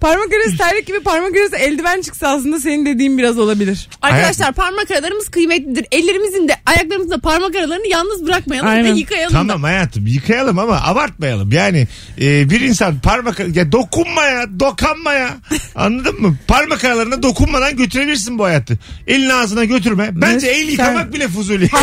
[SPEAKER 3] Parmak arası terlik gibi parmak arası eldiven çıksa aslında senin dediğin biraz olabilir.
[SPEAKER 4] Arkadaşlar parmak aralarımız kıymetlidir. Ellerimizin de ayaklarımızın da parmak aralarını yalnız bırakmayalım
[SPEAKER 3] Aynen.
[SPEAKER 4] ve yıkayalım da.
[SPEAKER 2] tamam hayatım yıkayalım ama abartmayalım. Yani e, bir insan parmak ya dokunma ya dokanma ya. Anladın mı? Parmak aralarına dokunmadan götürebilirsin bu hayatı. Elini ağzına götürme. Bence
[SPEAKER 3] Mes-
[SPEAKER 2] el yıkamak bile fuzuli.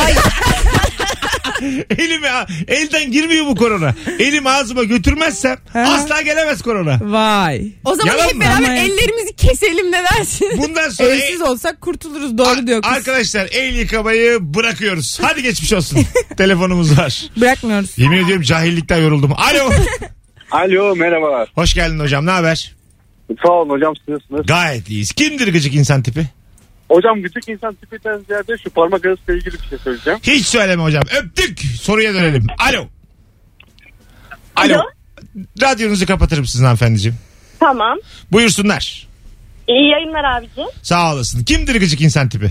[SPEAKER 2] Elime elden girmiyor bu korona. Elim ağzıma götürmezsem asla gelemez korona.
[SPEAKER 3] Vay.
[SPEAKER 4] O zaman
[SPEAKER 2] Yalan
[SPEAKER 4] hep
[SPEAKER 2] mı?
[SPEAKER 4] beraber
[SPEAKER 3] Ama-
[SPEAKER 4] ellerimizi keselim ne dersin?
[SPEAKER 2] Bundan sonra
[SPEAKER 3] Evsiz
[SPEAKER 4] e-
[SPEAKER 3] olsak kurtuluruz doğru diyor kız.
[SPEAKER 2] Arkadaşlar el yıkamayı bırakıyoruz. Hadi geçmiş olsun. Telefonumuz var.
[SPEAKER 3] Bırakmıyoruz.
[SPEAKER 2] Yemin ediyorum cahillikten yoruldum. Alo.
[SPEAKER 5] Alo merhabalar.
[SPEAKER 2] Hoş geldin hocam. Ne haber?
[SPEAKER 5] Sağ olun hocam siz nasılsınız?
[SPEAKER 2] Gayet iyiyiz. Kimdir gıcık insan tipi?
[SPEAKER 5] Hocam küçük insan tipinden ziyade şu parmak arasıyla ilgili bir şey söyleyeceğim.
[SPEAKER 2] Hiç söyleme hocam. Öptük. Soruya dönelim. Alo. Alo. Radyonuzu kapatır mısınız hanımefendiciğim?
[SPEAKER 9] Tamam.
[SPEAKER 2] Buyursunlar.
[SPEAKER 9] İyi yayınlar abicim.
[SPEAKER 2] Sağ olasın. Kimdir gıcık insan tipi?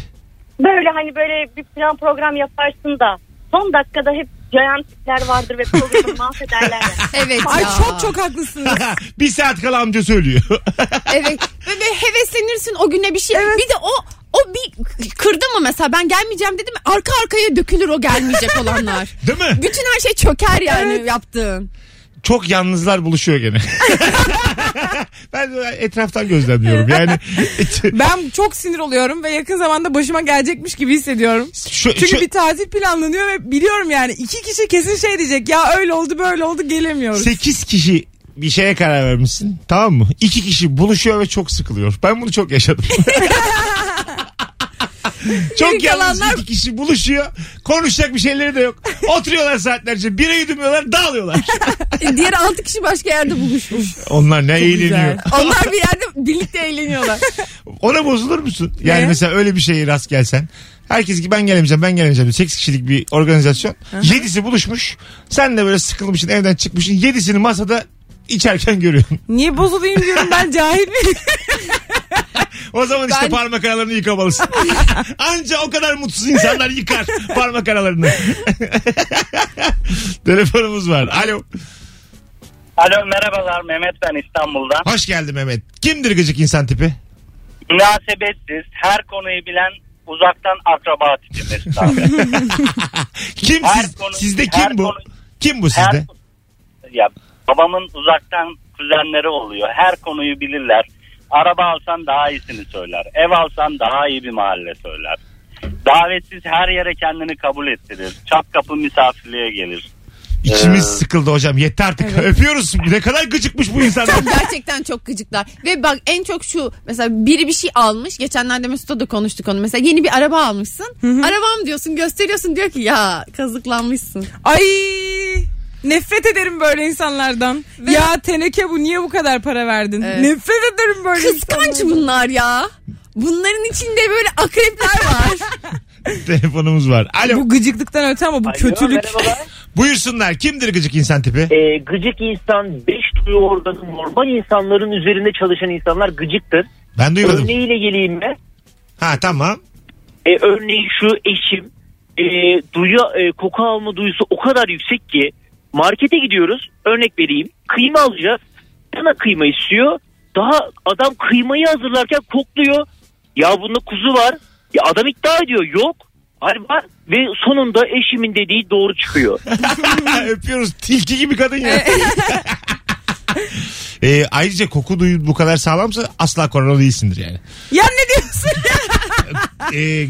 [SPEAKER 9] Böyle hani böyle bir plan program yaparsın da son dakikada hep yayan tipler vardır ve programı mahvederler. ya.
[SPEAKER 4] evet ya.
[SPEAKER 3] Ay çok çok haklısınız.
[SPEAKER 2] bir saat kala amca söylüyor.
[SPEAKER 4] Evet. Ve, ve heveslenirsin o güne bir şey. Bir de o o bir kırdı mı mesela ben gelmeyeceğim dedim mi arka arkaya dökülür o gelmeyecek olanlar.
[SPEAKER 2] Değil mi?
[SPEAKER 4] Bütün her şey çöker yani yaptığın.
[SPEAKER 2] çok yalnızlar buluşuyor gene. ben de etraftan gözlemliyorum. Yani
[SPEAKER 3] Ben çok sinir oluyorum ve yakın zamanda başıma gelecekmiş gibi hissediyorum.
[SPEAKER 2] şu,
[SPEAKER 3] Çünkü
[SPEAKER 2] şu-
[SPEAKER 3] bir tatil planlanıyor ve biliyorum yani iki kişi kesin şey diyecek ya öyle oldu böyle oldu gelemiyoruz.
[SPEAKER 2] 8 kişi bir şeye karar vermişsin. Tamam mı? 2 kişi buluşuyor ve çok sıkılıyor. Ben bunu çok yaşadım. Çok
[SPEAKER 4] Geri
[SPEAKER 2] yalnız
[SPEAKER 4] kalanlar-
[SPEAKER 2] iki kişi buluşuyor. Konuşacak bir şeyleri de yok. Oturuyorlar saatlerce. Bire yudumuyorlar dağılıyorlar.
[SPEAKER 4] E, Diğer altı kişi başka yerde buluşmuş.
[SPEAKER 2] Onlar ne eğleniyor.
[SPEAKER 3] güzel.
[SPEAKER 4] Onlar bir yerde birlikte eğleniyorlar.
[SPEAKER 2] Ona bozulur musun? Yani
[SPEAKER 3] Ne?
[SPEAKER 2] mesela öyle bir şeye rast gelsen. Herkes ki ben gelemeyeceğim ben gelemeyeceğim. 8 kişilik bir organizasyon. 7'si buluşmuş. Sen de böyle sıkılmışsın evden çıkmışsın. 7'sini masada içerken görüyorum.
[SPEAKER 3] Niye bozulayım diyorum ben cahil miyim?
[SPEAKER 2] O zaman işte
[SPEAKER 4] Ben-
[SPEAKER 2] parmak aralarını yıkamalısın. Anca o kadar mutsuz insanlar yıkar parmak aralarını. Telefonumuz var. Alo.
[SPEAKER 7] Alo merhabalar Mehmet ben İstanbul'dan.
[SPEAKER 2] Hoş geldin Mehmet. Kimdir gıcık insan tipi?
[SPEAKER 7] Münasebetsiz her konuyu bilen uzaktan akraba tipidir.
[SPEAKER 2] Kim
[SPEAKER 7] Her
[SPEAKER 2] siz,
[SPEAKER 7] konu-
[SPEAKER 2] sizde
[SPEAKER 7] her
[SPEAKER 2] kim bu?
[SPEAKER 7] konu-
[SPEAKER 2] Kim bu
[SPEAKER 7] her
[SPEAKER 2] sizde?
[SPEAKER 7] ya babamın uzaktan kuzenleri oluyor. Her konuyu bilirler. Araba alsan daha iyisini söyler. Ev alsan daha iyi bir mahalle söyler. Davetsiz her yere kendini kabul ettirir. Çat kapı misafirliğe gelir.
[SPEAKER 2] İçimiz sıkıldı hocam. Yeter artık. Öpüyoruz. Ne kadar gıcıkmış bu insanlar.
[SPEAKER 4] Gerçekten çok gıcıklar. Ve bak en çok şu mesela biri bir şey almış. Geçenlerde Mesut'la da konuştuk onu. Mesela yeni bir araba almışsın. Arabam diyorsun gösteriyorsun diyor ki ya kazıklanmışsın.
[SPEAKER 3] Ay nefret ederim böyle insanlardan. Ya teneke bu niye bu kadar para verdin?
[SPEAKER 4] Evet.
[SPEAKER 3] Nefret ederim böyle
[SPEAKER 4] Kıskanç
[SPEAKER 3] insanlardan.
[SPEAKER 4] bunlar ya. Bunların içinde böyle akrepler var.
[SPEAKER 2] Telefonumuz var. Alo.
[SPEAKER 3] Bu gıcıklıktan öte ama bu kötülük.
[SPEAKER 2] Buyursunlar. Kimdir gıcık insan tipi?
[SPEAKER 7] Ee,
[SPEAKER 10] e, gıcık insan beş duyu organı normal insanların üzerinde çalışan insanlar gıcıktır.
[SPEAKER 2] Ben duymadım.
[SPEAKER 10] Örneğiyle geleyim ben.
[SPEAKER 2] Ha tamam.
[SPEAKER 10] E, örneğin şu eşim e, duyu, e, koku alma duyusu o kadar yüksek ki markete gidiyoruz örnek vereyim kıyma alacağız. Dana kıyma istiyor. Daha adam kıymayı hazırlarken kokluyor. Ya bunda kuzu var. Ya adam iddia ediyor yok. Hayır var ve sonunda eşimin dediği doğru çıkıyor.
[SPEAKER 2] Öpüyoruz. Tilki gibi kadın ya. Ee, ayrıca koku duyu bu kadar sağlamsa asla korona değilsindir yani.
[SPEAKER 3] Ya ne diyorsun ya?
[SPEAKER 2] Ee,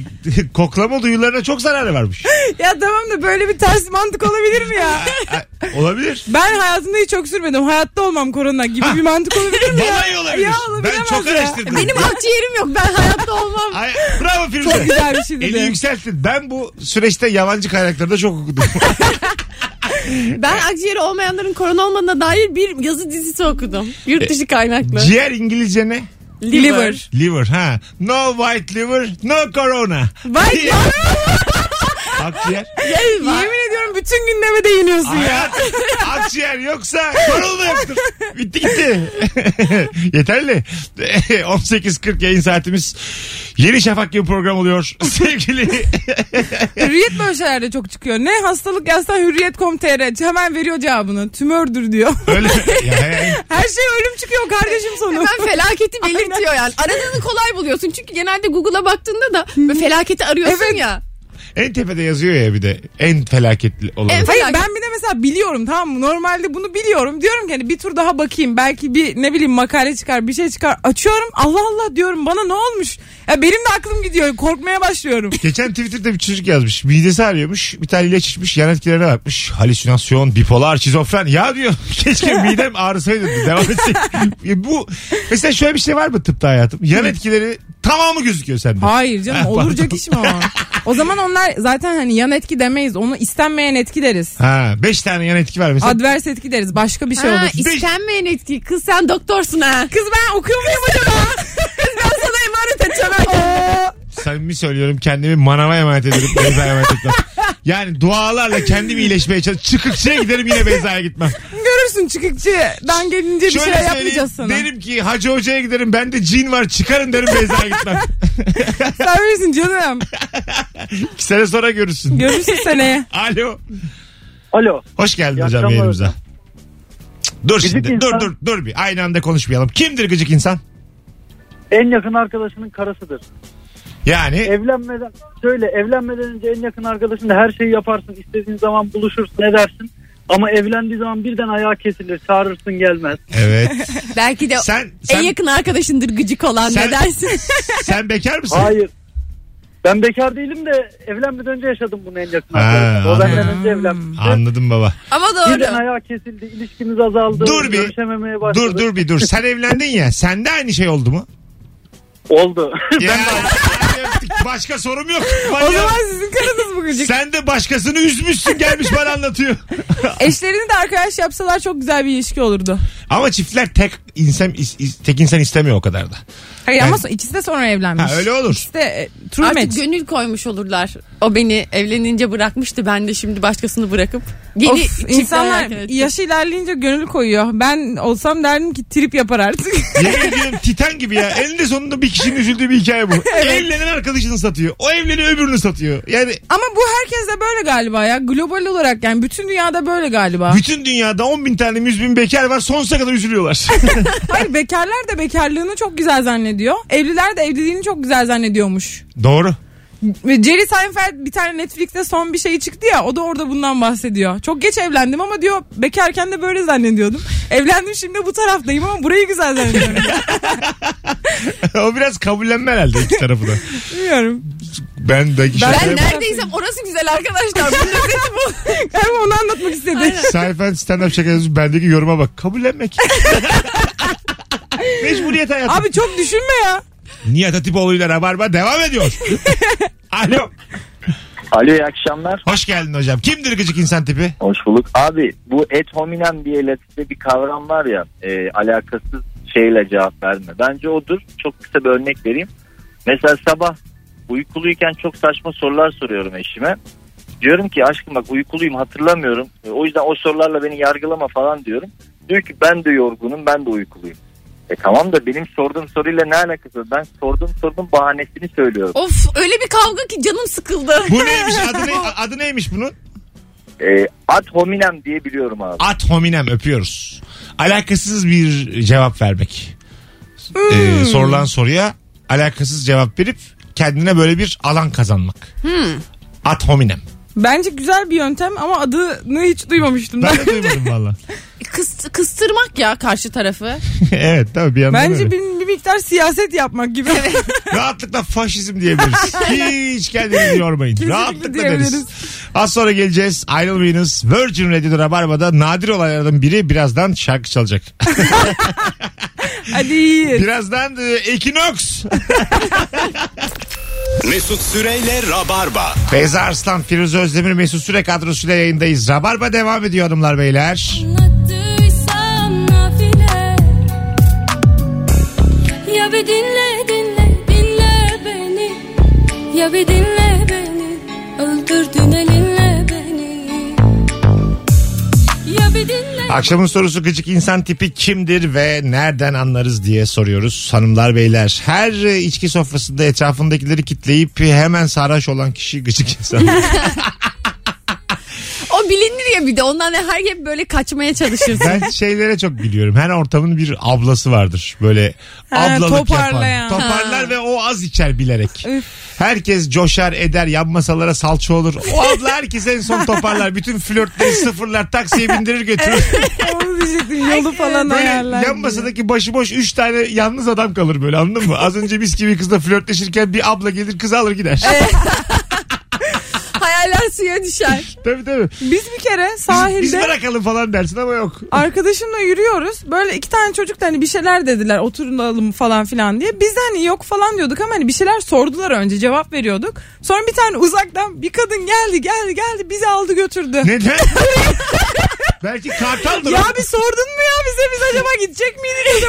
[SPEAKER 2] koklama duyularına çok zararı varmış.
[SPEAKER 3] Ya tamam da böyle bir ters mantık olabilir mi ya?
[SPEAKER 2] Ha, Olabilir.
[SPEAKER 3] Ben hayatımda hiç öksürmedim. Hayatta olmam korona gibi bir mantık olabilir mi ya?
[SPEAKER 2] Vallahi olabilir.
[SPEAKER 3] Ya
[SPEAKER 2] ben
[SPEAKER 3] olabilemez
[SPEAKER 2] çok
[SPEAKER 3] ya.
[SPEAKER 2] araştırdım.
[SPEAKER 4] Benim akciğerim yok ben hayatta olmam.
[SPEAKER 2] Ay, bravo
[SPEAKER 3] Çok
[SPEAKER 2] Firuze.
[SPEAKER 3] güzel bir şey
[SPEAKER 2] Eli
[SPEAKER 3] dedi.
[SPEAKER 2] yükselttin. Ben bu süreçte yabancı kaynaklarda çok okudum.
[SPEAKER 4] Ben akciğeri olmayanların korona olmadığına dair bir yazı dizisi okudum. Yurt dışı kaynaklı.
[SPEAKER 2] Ciğer İngilizce ne?
[SPEAKER 3] Liver.
[SPEAKER 2] Liver ha. No white liver, no corona.
[SPEAKER 3] White
[SPEAKER 2] Diğer- Akciğer.
[SPEAKER 3] Yemin ediyorum bütün gündeme değiniyorsun ya.
[SPEAKER 2] Hayat, akciğer yoksa korona yoktur. Bitti gitti. Yeterli. 18.40 yayın saatimiz. Yeni Şafak gibi program oluyor. Sevgili
[SPEAKER 3] Hürriyet böyle şeylerde çok çıkıyor. Ne hastalık yazsan hürriyet.com.tr hemen veriyor cevabını. Tümördür diyor.
[SPEAKER 2] öyle ya, ya,
[SPEAKER 3] Her şey ölüm çıkıyor kardeşim sonu.
[SPEAKER 4] Hemen felaketi belirtiyor yani. Aradığını kolay buluyorsun. Çünkü genelde Google'a baktığında da böyle felaketi arıyorsun ya.
[SPEAKER 2] en tepede yazıyor ya bir de en felaketli olan.
[SPEAKER 4] En-
[SPEAKER 3] Hayır
[SPEAKER 4] Merak
[SPEAKER 3] ben bir de mesela biliyorum tamam mı? Normalde bunu biliyorum. Diyorum ki hani bir tur daha bakayım. Belki bir ne bileyim makale çıkar bir şey çıkar. Açıyorum Allah Allah diyorum bana ne olmuş? Ya benim de aklım gidiyor. Korkmaya başlıyorum.
[SPEAKER 2] Geçen Twitter'da bir çocuk yazmış. Midesi ağrıyormuş. Bir tane ilaç içmiş. Yan etkilerine bakmış. Halüsinasyon, bipolar, şizofren. Ya diyor keşke midem ağrısaydı. Devam etsek. E Bu mesela şöyle bir şey var mı tıpta hayatım? Yan etkileri tamamı gözüküyor sende.
[SPEAKER 3] Hayır canım
[SPEAKER 2] Ha,
[SPEAKER 3] oluracak
[SPEAKER 2] pardon.
[SPEAKER 3] iş mi o? O zaman onlar zaten hani yan etki demeyiz. Onu istenmeyen etki deriz.
[SPEAKER 2] Ha, beş tane yan etki var mesela.
[SPEAKER 3] Advers etki deriz. Başka bir şey
[SPEAKER 4] ha,
[SPEAKER 3] olur.
[SPEAKER 4] istenmeyen etki. Kız sen doktorsun ha.
[SPEAKER 3] Kız ben okuyor muyum acaba? Kız ben sana emanet edeceğim.
[SPEAKER 2] Samimi söylüyorum kendimi manava emanet ederim. Beyza'ya emanet etmem. Yani dualarla kendimi iyileşmeye çalışıyorum. Çıkıkçıya giderim yine Beyza'ya gitmem.
[SPEAKER 3] Görürsün çıkıkçıdan gelince bir
[SPEAKER 2] Şöyle
[SPEAKER 3] şey
[SPEAKER 2] söyleyeyim,
[SPEAKER 3] yapmayacağız sana.
[SPEAKER 2] Derim ki Hacı Hoca'ya giderim. Bende cin var çıkarın derim Beyza'ya gitmem.
[SPEAKER 3] Sen bilirsin canım.
[SPEAKER 2] İki sene sonra görürsün.
[SPEAKER 3] Görürsün seneye.
[SPEAKER 2] Alo.
[SPEAKER 7] Alo.
[SPEAKER 2] Hoş geldin
[SPEAKER 7] İyi
[SPEAKER 2] hocam
[SPEAKER 7] akşamlar
[SPEAKER 2] yayınımıza.
[SPEAKER 7] hocam.
[SPEAKER 2] Cık, Dur şimdi.
[SPEAKER 7] insan-
[SPEAKER 2] Dur dur dur bir. Aynı anda konuşmayalım. Kimdir gıcık insan?
[SPEAKER 7] En yakın arkadaşının karısıdır.
[SPEAKER 2] Yani
[SPEAKER 7] Evlenmeden şöyle evlenmeden önce en yakın arkadaşınla her şeyi yaparsın. istediğin zaman buluşursun edersin. Ama evlendiği zaman birden ayağı kesilir. Çağırırsın gelmez.
[SPEAKER 2] evet.
[SPEAKER 4] Belki de
[SPEAKER 2] Sen
[SPEAKER 4] en
[SPEAKER 2] sen
[SPEAKER 4] yakın arkadaşındır gıcık olan
[SPEAKER 2] Sen-
[SPEAKER 4] ne dersin?
[SPEAKER 2] sen bekar mısın?
[SPEAKER 7] Hayır. Ben bekar değilim de evlenmeden önce yaşadım bunu en yakın
[SPEAKER 2] Ha,
[SPEAKER 7] arkadaşımla. O benden
[SPEAKER 2] anladım.
[SPEAKER 7] önce evlenmişti.
[SPEAKER 2] Anladım baba.
[SPEAKER 4] Ama
[SPEAKER 7] Birden
[SPEAKER 4] doğru.
[SPEAKER 7] ayağı kesildi. ilişkimiz azaldı.
[SPEAKER 2] Dur bir.
[SPEAKER 7] Görüşememeye başladı.
[SPEAKER 2] Dur dur bir dur. Sen evlendin ya. Sende aynı şey oldu mu?
[SPEAKER 7] Oldu.
[SPEAKER 2] Ya, öptük. başka sorum yok. Bana
[SPEAKER 3] O
[SPEAKER 2] ya.
[SPEAKER 3] zaman sizin karınız bu gıcık.
[SPEAKER 2] Sen de başkasını üzmüşsün gelmiş bana anlatıyor.
[SPEAKER 3] Eşlerini de arkadaş yapsalar çok güzel bir ilişki olurdu.
[SPEAKER 2] Ama çiftler tek insan, is- is- tek insan istemiyor o kadar da.
[SPEAKER 3] Hayır
[SPEAKER 2] Yani-
[SPEAKER 3] ama so- ikisi de sonra evlenmiş.
[SPEAKER 2] Ha, öyle olur.
[SPEAKER 3] İşte e, true
[SPEAKER 4] Artık
[SPEAKER 3] match.
[SPEAKER 4] gönül koymuş olurlar. O beni evlenince bırakmıştı. Ben de şimdi başkasını bırakıp yeni
[SPEAKER 3] Of,
[SPEAKER 4] çiftler
[SPEAKER 3] insanlar
[SPEAKER 4] erken edeceğim.
[SPEAKER 3] yaş ilerleyince gönül koyuyor. Ben olsam derdim ki trip yapar artık.
[SPEAKER 2] Yemin ediyorum titan gibi ya. Eninde sonunda bir kişinin üzüldüğü bir hikaye bu. Evlenen arkadaşını satıyor. O evleniyor öbürünü satıyor. Yani
[SPEAKER 3] ama bu herkeste böyle galiba ya. Global olarak yani bütün dünyada böyle galiba.
[SPEAKER 2] bütün dünyada 10 bin tane 100 bin bekar var. Sonsuza kadar üzülüyorlar.
[SPEAKER 3] Hayır bekarlar da bekarlığını çok güzel zannediyor. Evliler de evliliğini çok güzel zannediyormuş.
[SPEAKER 2] Doğru.
[SPEAKER 3] Ve Jerry Seinfeld bir tane Netflix'te son bir şey çıktı ya o da orada bundan bahsediyor. Çok geç evlendim ama diyor bekarken de böyle zannediyordum. Evlendim şimdi bu taraftayım ama burayı güzel zannediyorum.
[SPEAKER 2] o biraz kabullenme herhalde iki tarafı da.
[SPEAKER 3] Bilmiyorum.
[SPEAKER 2] Ben de
[SPEAKER 4] Ben
[SPEAKER 3] Şöyle-
[SPEAKER 4] neredeysem orası güzel arkadaşlar. Bu lezzeti bu.
[SPEAKER 3] Galiba onu anlatmak istedi.
[SPEAKER 2] Sayfen stand-up şakası bendeki yoruma bak. Kabullenmek. Mecburiyet hayatı.
[SPEAKER 3] Abi çok düşünme ya.
[SPEAKER 2] Nihat Atipoğlu ile Rabarba devam ediyor. Alo.
[SPEAKER 11] Alo iyi akşamlar.
[SPEAKER 2] Hoş geldin hocam. Kimdir gıcık insan tipi?
[SPEAKER 11] Hoş bulduk. Abi bu et hominem diye latince bir kavram var ya e, alakasız şeyle cevap verme. Bence odur. Çok kısa bir örnek vereyim. Mesela sabah uykuluyken çok saçma sorular soruyorum eşime. Diyorum ki aşkım bak uykuluyum hatırlamıyorum. E, o yüzden o sorularla beni yargılama falan diyorum. Diyor ki ben de yorgunum ben de uykuluyum. E tamam da benim sorduğum soruyla ne alakası var? Ben sorduğum sorunun bahanesini söylüyorum.
[SPEAKER 4] Of öyle bir kavga ki canım sıkıldı.
[SPEAKER 2] Bu neymiş? Adı, ne, adı neymiş bunun?
[SPEAKER 11] E, ad hominem diye biliyorum abi.
[SPEAKER 2] At hominem öpüyoruz. Alakasız bir cevap vermek.
[SPEAKER 3] Hmm.
[SPEAKER 2] Ee, sorulan soruya alakasız cevap verip kendine böyle bir alan kazanmak.
[SPEAKER 3] Hmm.
[SPEAKER 2] At hominem.
[SPEAKER 3] Bence güzel bir yöntem ama adını hiç duymamıştım.
[SPEAKER 2] Ben
[SPEAKER 3] daha
[SPEAKER 2] de
[SPEAKER 3] önce.
[SPEAKER 2] duymadım valla.
[SPEAKER 4] Kıs- kıstırmak ya karşı tarafı.
[SPEAKER 2] evet tabii bir yandan öyle.
[SPEAKER 3] Bence bir, bir miktar siyaset yapmak gibi.
[SPEAKER 2] Rahatlıkla faşizm diyebiliriz. Hiç kendinizi yormayın.
[SPEAKER 3] Kesinlikle
[SPEAKER 2] Rahatlıkla
[SPEAKER 3] diyebiliriz.
[SPEAKER 2] deriz. Az sonra geleceğiz. Ayrılmayınız. Virgin Radio'da Rabarba'da nadir olaylardan biri birazdan şarkı çalacak.
[SPEAKER 3] Hadi iyi.
[SPEAKER 2] birazdan e, Equinox.
[SPEAKER 1] Mesut Süreyle Rabarba.
[SPEAKER 2] Beyza Arslan, Firuze Özdemir, Mesut Süre kadrosuyla yayındayız. Rabarba devam ediyor hanımlar beyler.
[SPEAKER 12] Anlattıysam nafile Ya bir dinle dinle dinle beni Ya bir dinle beni Öldürdün elinle beni Ya bir dinle
[SPEAKER 2] Akşamın sorusu gıcık insan tipi kimdir ve nereden anlarız diye soruyoruz hanımlar beyler. Her e, içki sofrasında etrafındakileri kitleyip hemen sarhoş olan kişi gıcık insan.
[SPEAKER 4] O bilinir ya bir de ondan her hep böyle kaçmaya çalışırsın.
[SPEAKER 2] Ben şeylere çok gülüyorum. Her ortamın bir ablası vardır. Böyle
[SPEAKER 3] Ha,
[SPEAKER 2] ablalık
[SPEAKER 3] toparlayan.
[SPEAKER 2] yapar. Toparlar ve o az içer bilerek.
[SPEAKER 3] Üf.
[SPEAKER 2] Herkes coşar eder. Yan masalara salça olur. O abla herkes en son toparlar. Bütün flörtleri sıfırlar. Taksiye bindirir götürür.
[SPEAKER 3] Onu diyecektim yolu falan
[SPEAKER 2] Böyle
[SPEAKER 3] ayarlar.
[SPEAKER 2] yan
[SPEAKER 3] diye.
[SPEAKER 2] masadaki başıboş 3 tane yalnız adam kalır böyle anladın mı? Az önce biz gibi kızla flörtleşirken bir abla gelir kızı alır gider.
[SPEAKER 4] Hayaller suya düşer.
[SPEAKER 2] tabii tabii.
[SPEAKER 3] Biz bir kere
[SPEAKER 2] Biz, biz
[SPEAKER 3] sahilde
[SPEAKER 2] bırakalım falan dersin ama yok.
[SPEAKER 3] arkadaşımla yürüyoruz. Böyle iki tane çocuk da hani bir şeyler dediler oturalım falan filan diye. Biz de hani yok falan diyorduk ama hani bir şeyler sordular önce cevap veriyorduk. Sonra bir tane uzaktan bir kadın geldi geldi geldi bizi aldı götürdü.
[SPEAKER 2] Neden? belki kartaldır.
[SPEAKER 3] Ya
[SPEAKER 2] o.
[SPEAKER 3] bir sordun mu ya bize biz acaba gidecek miydik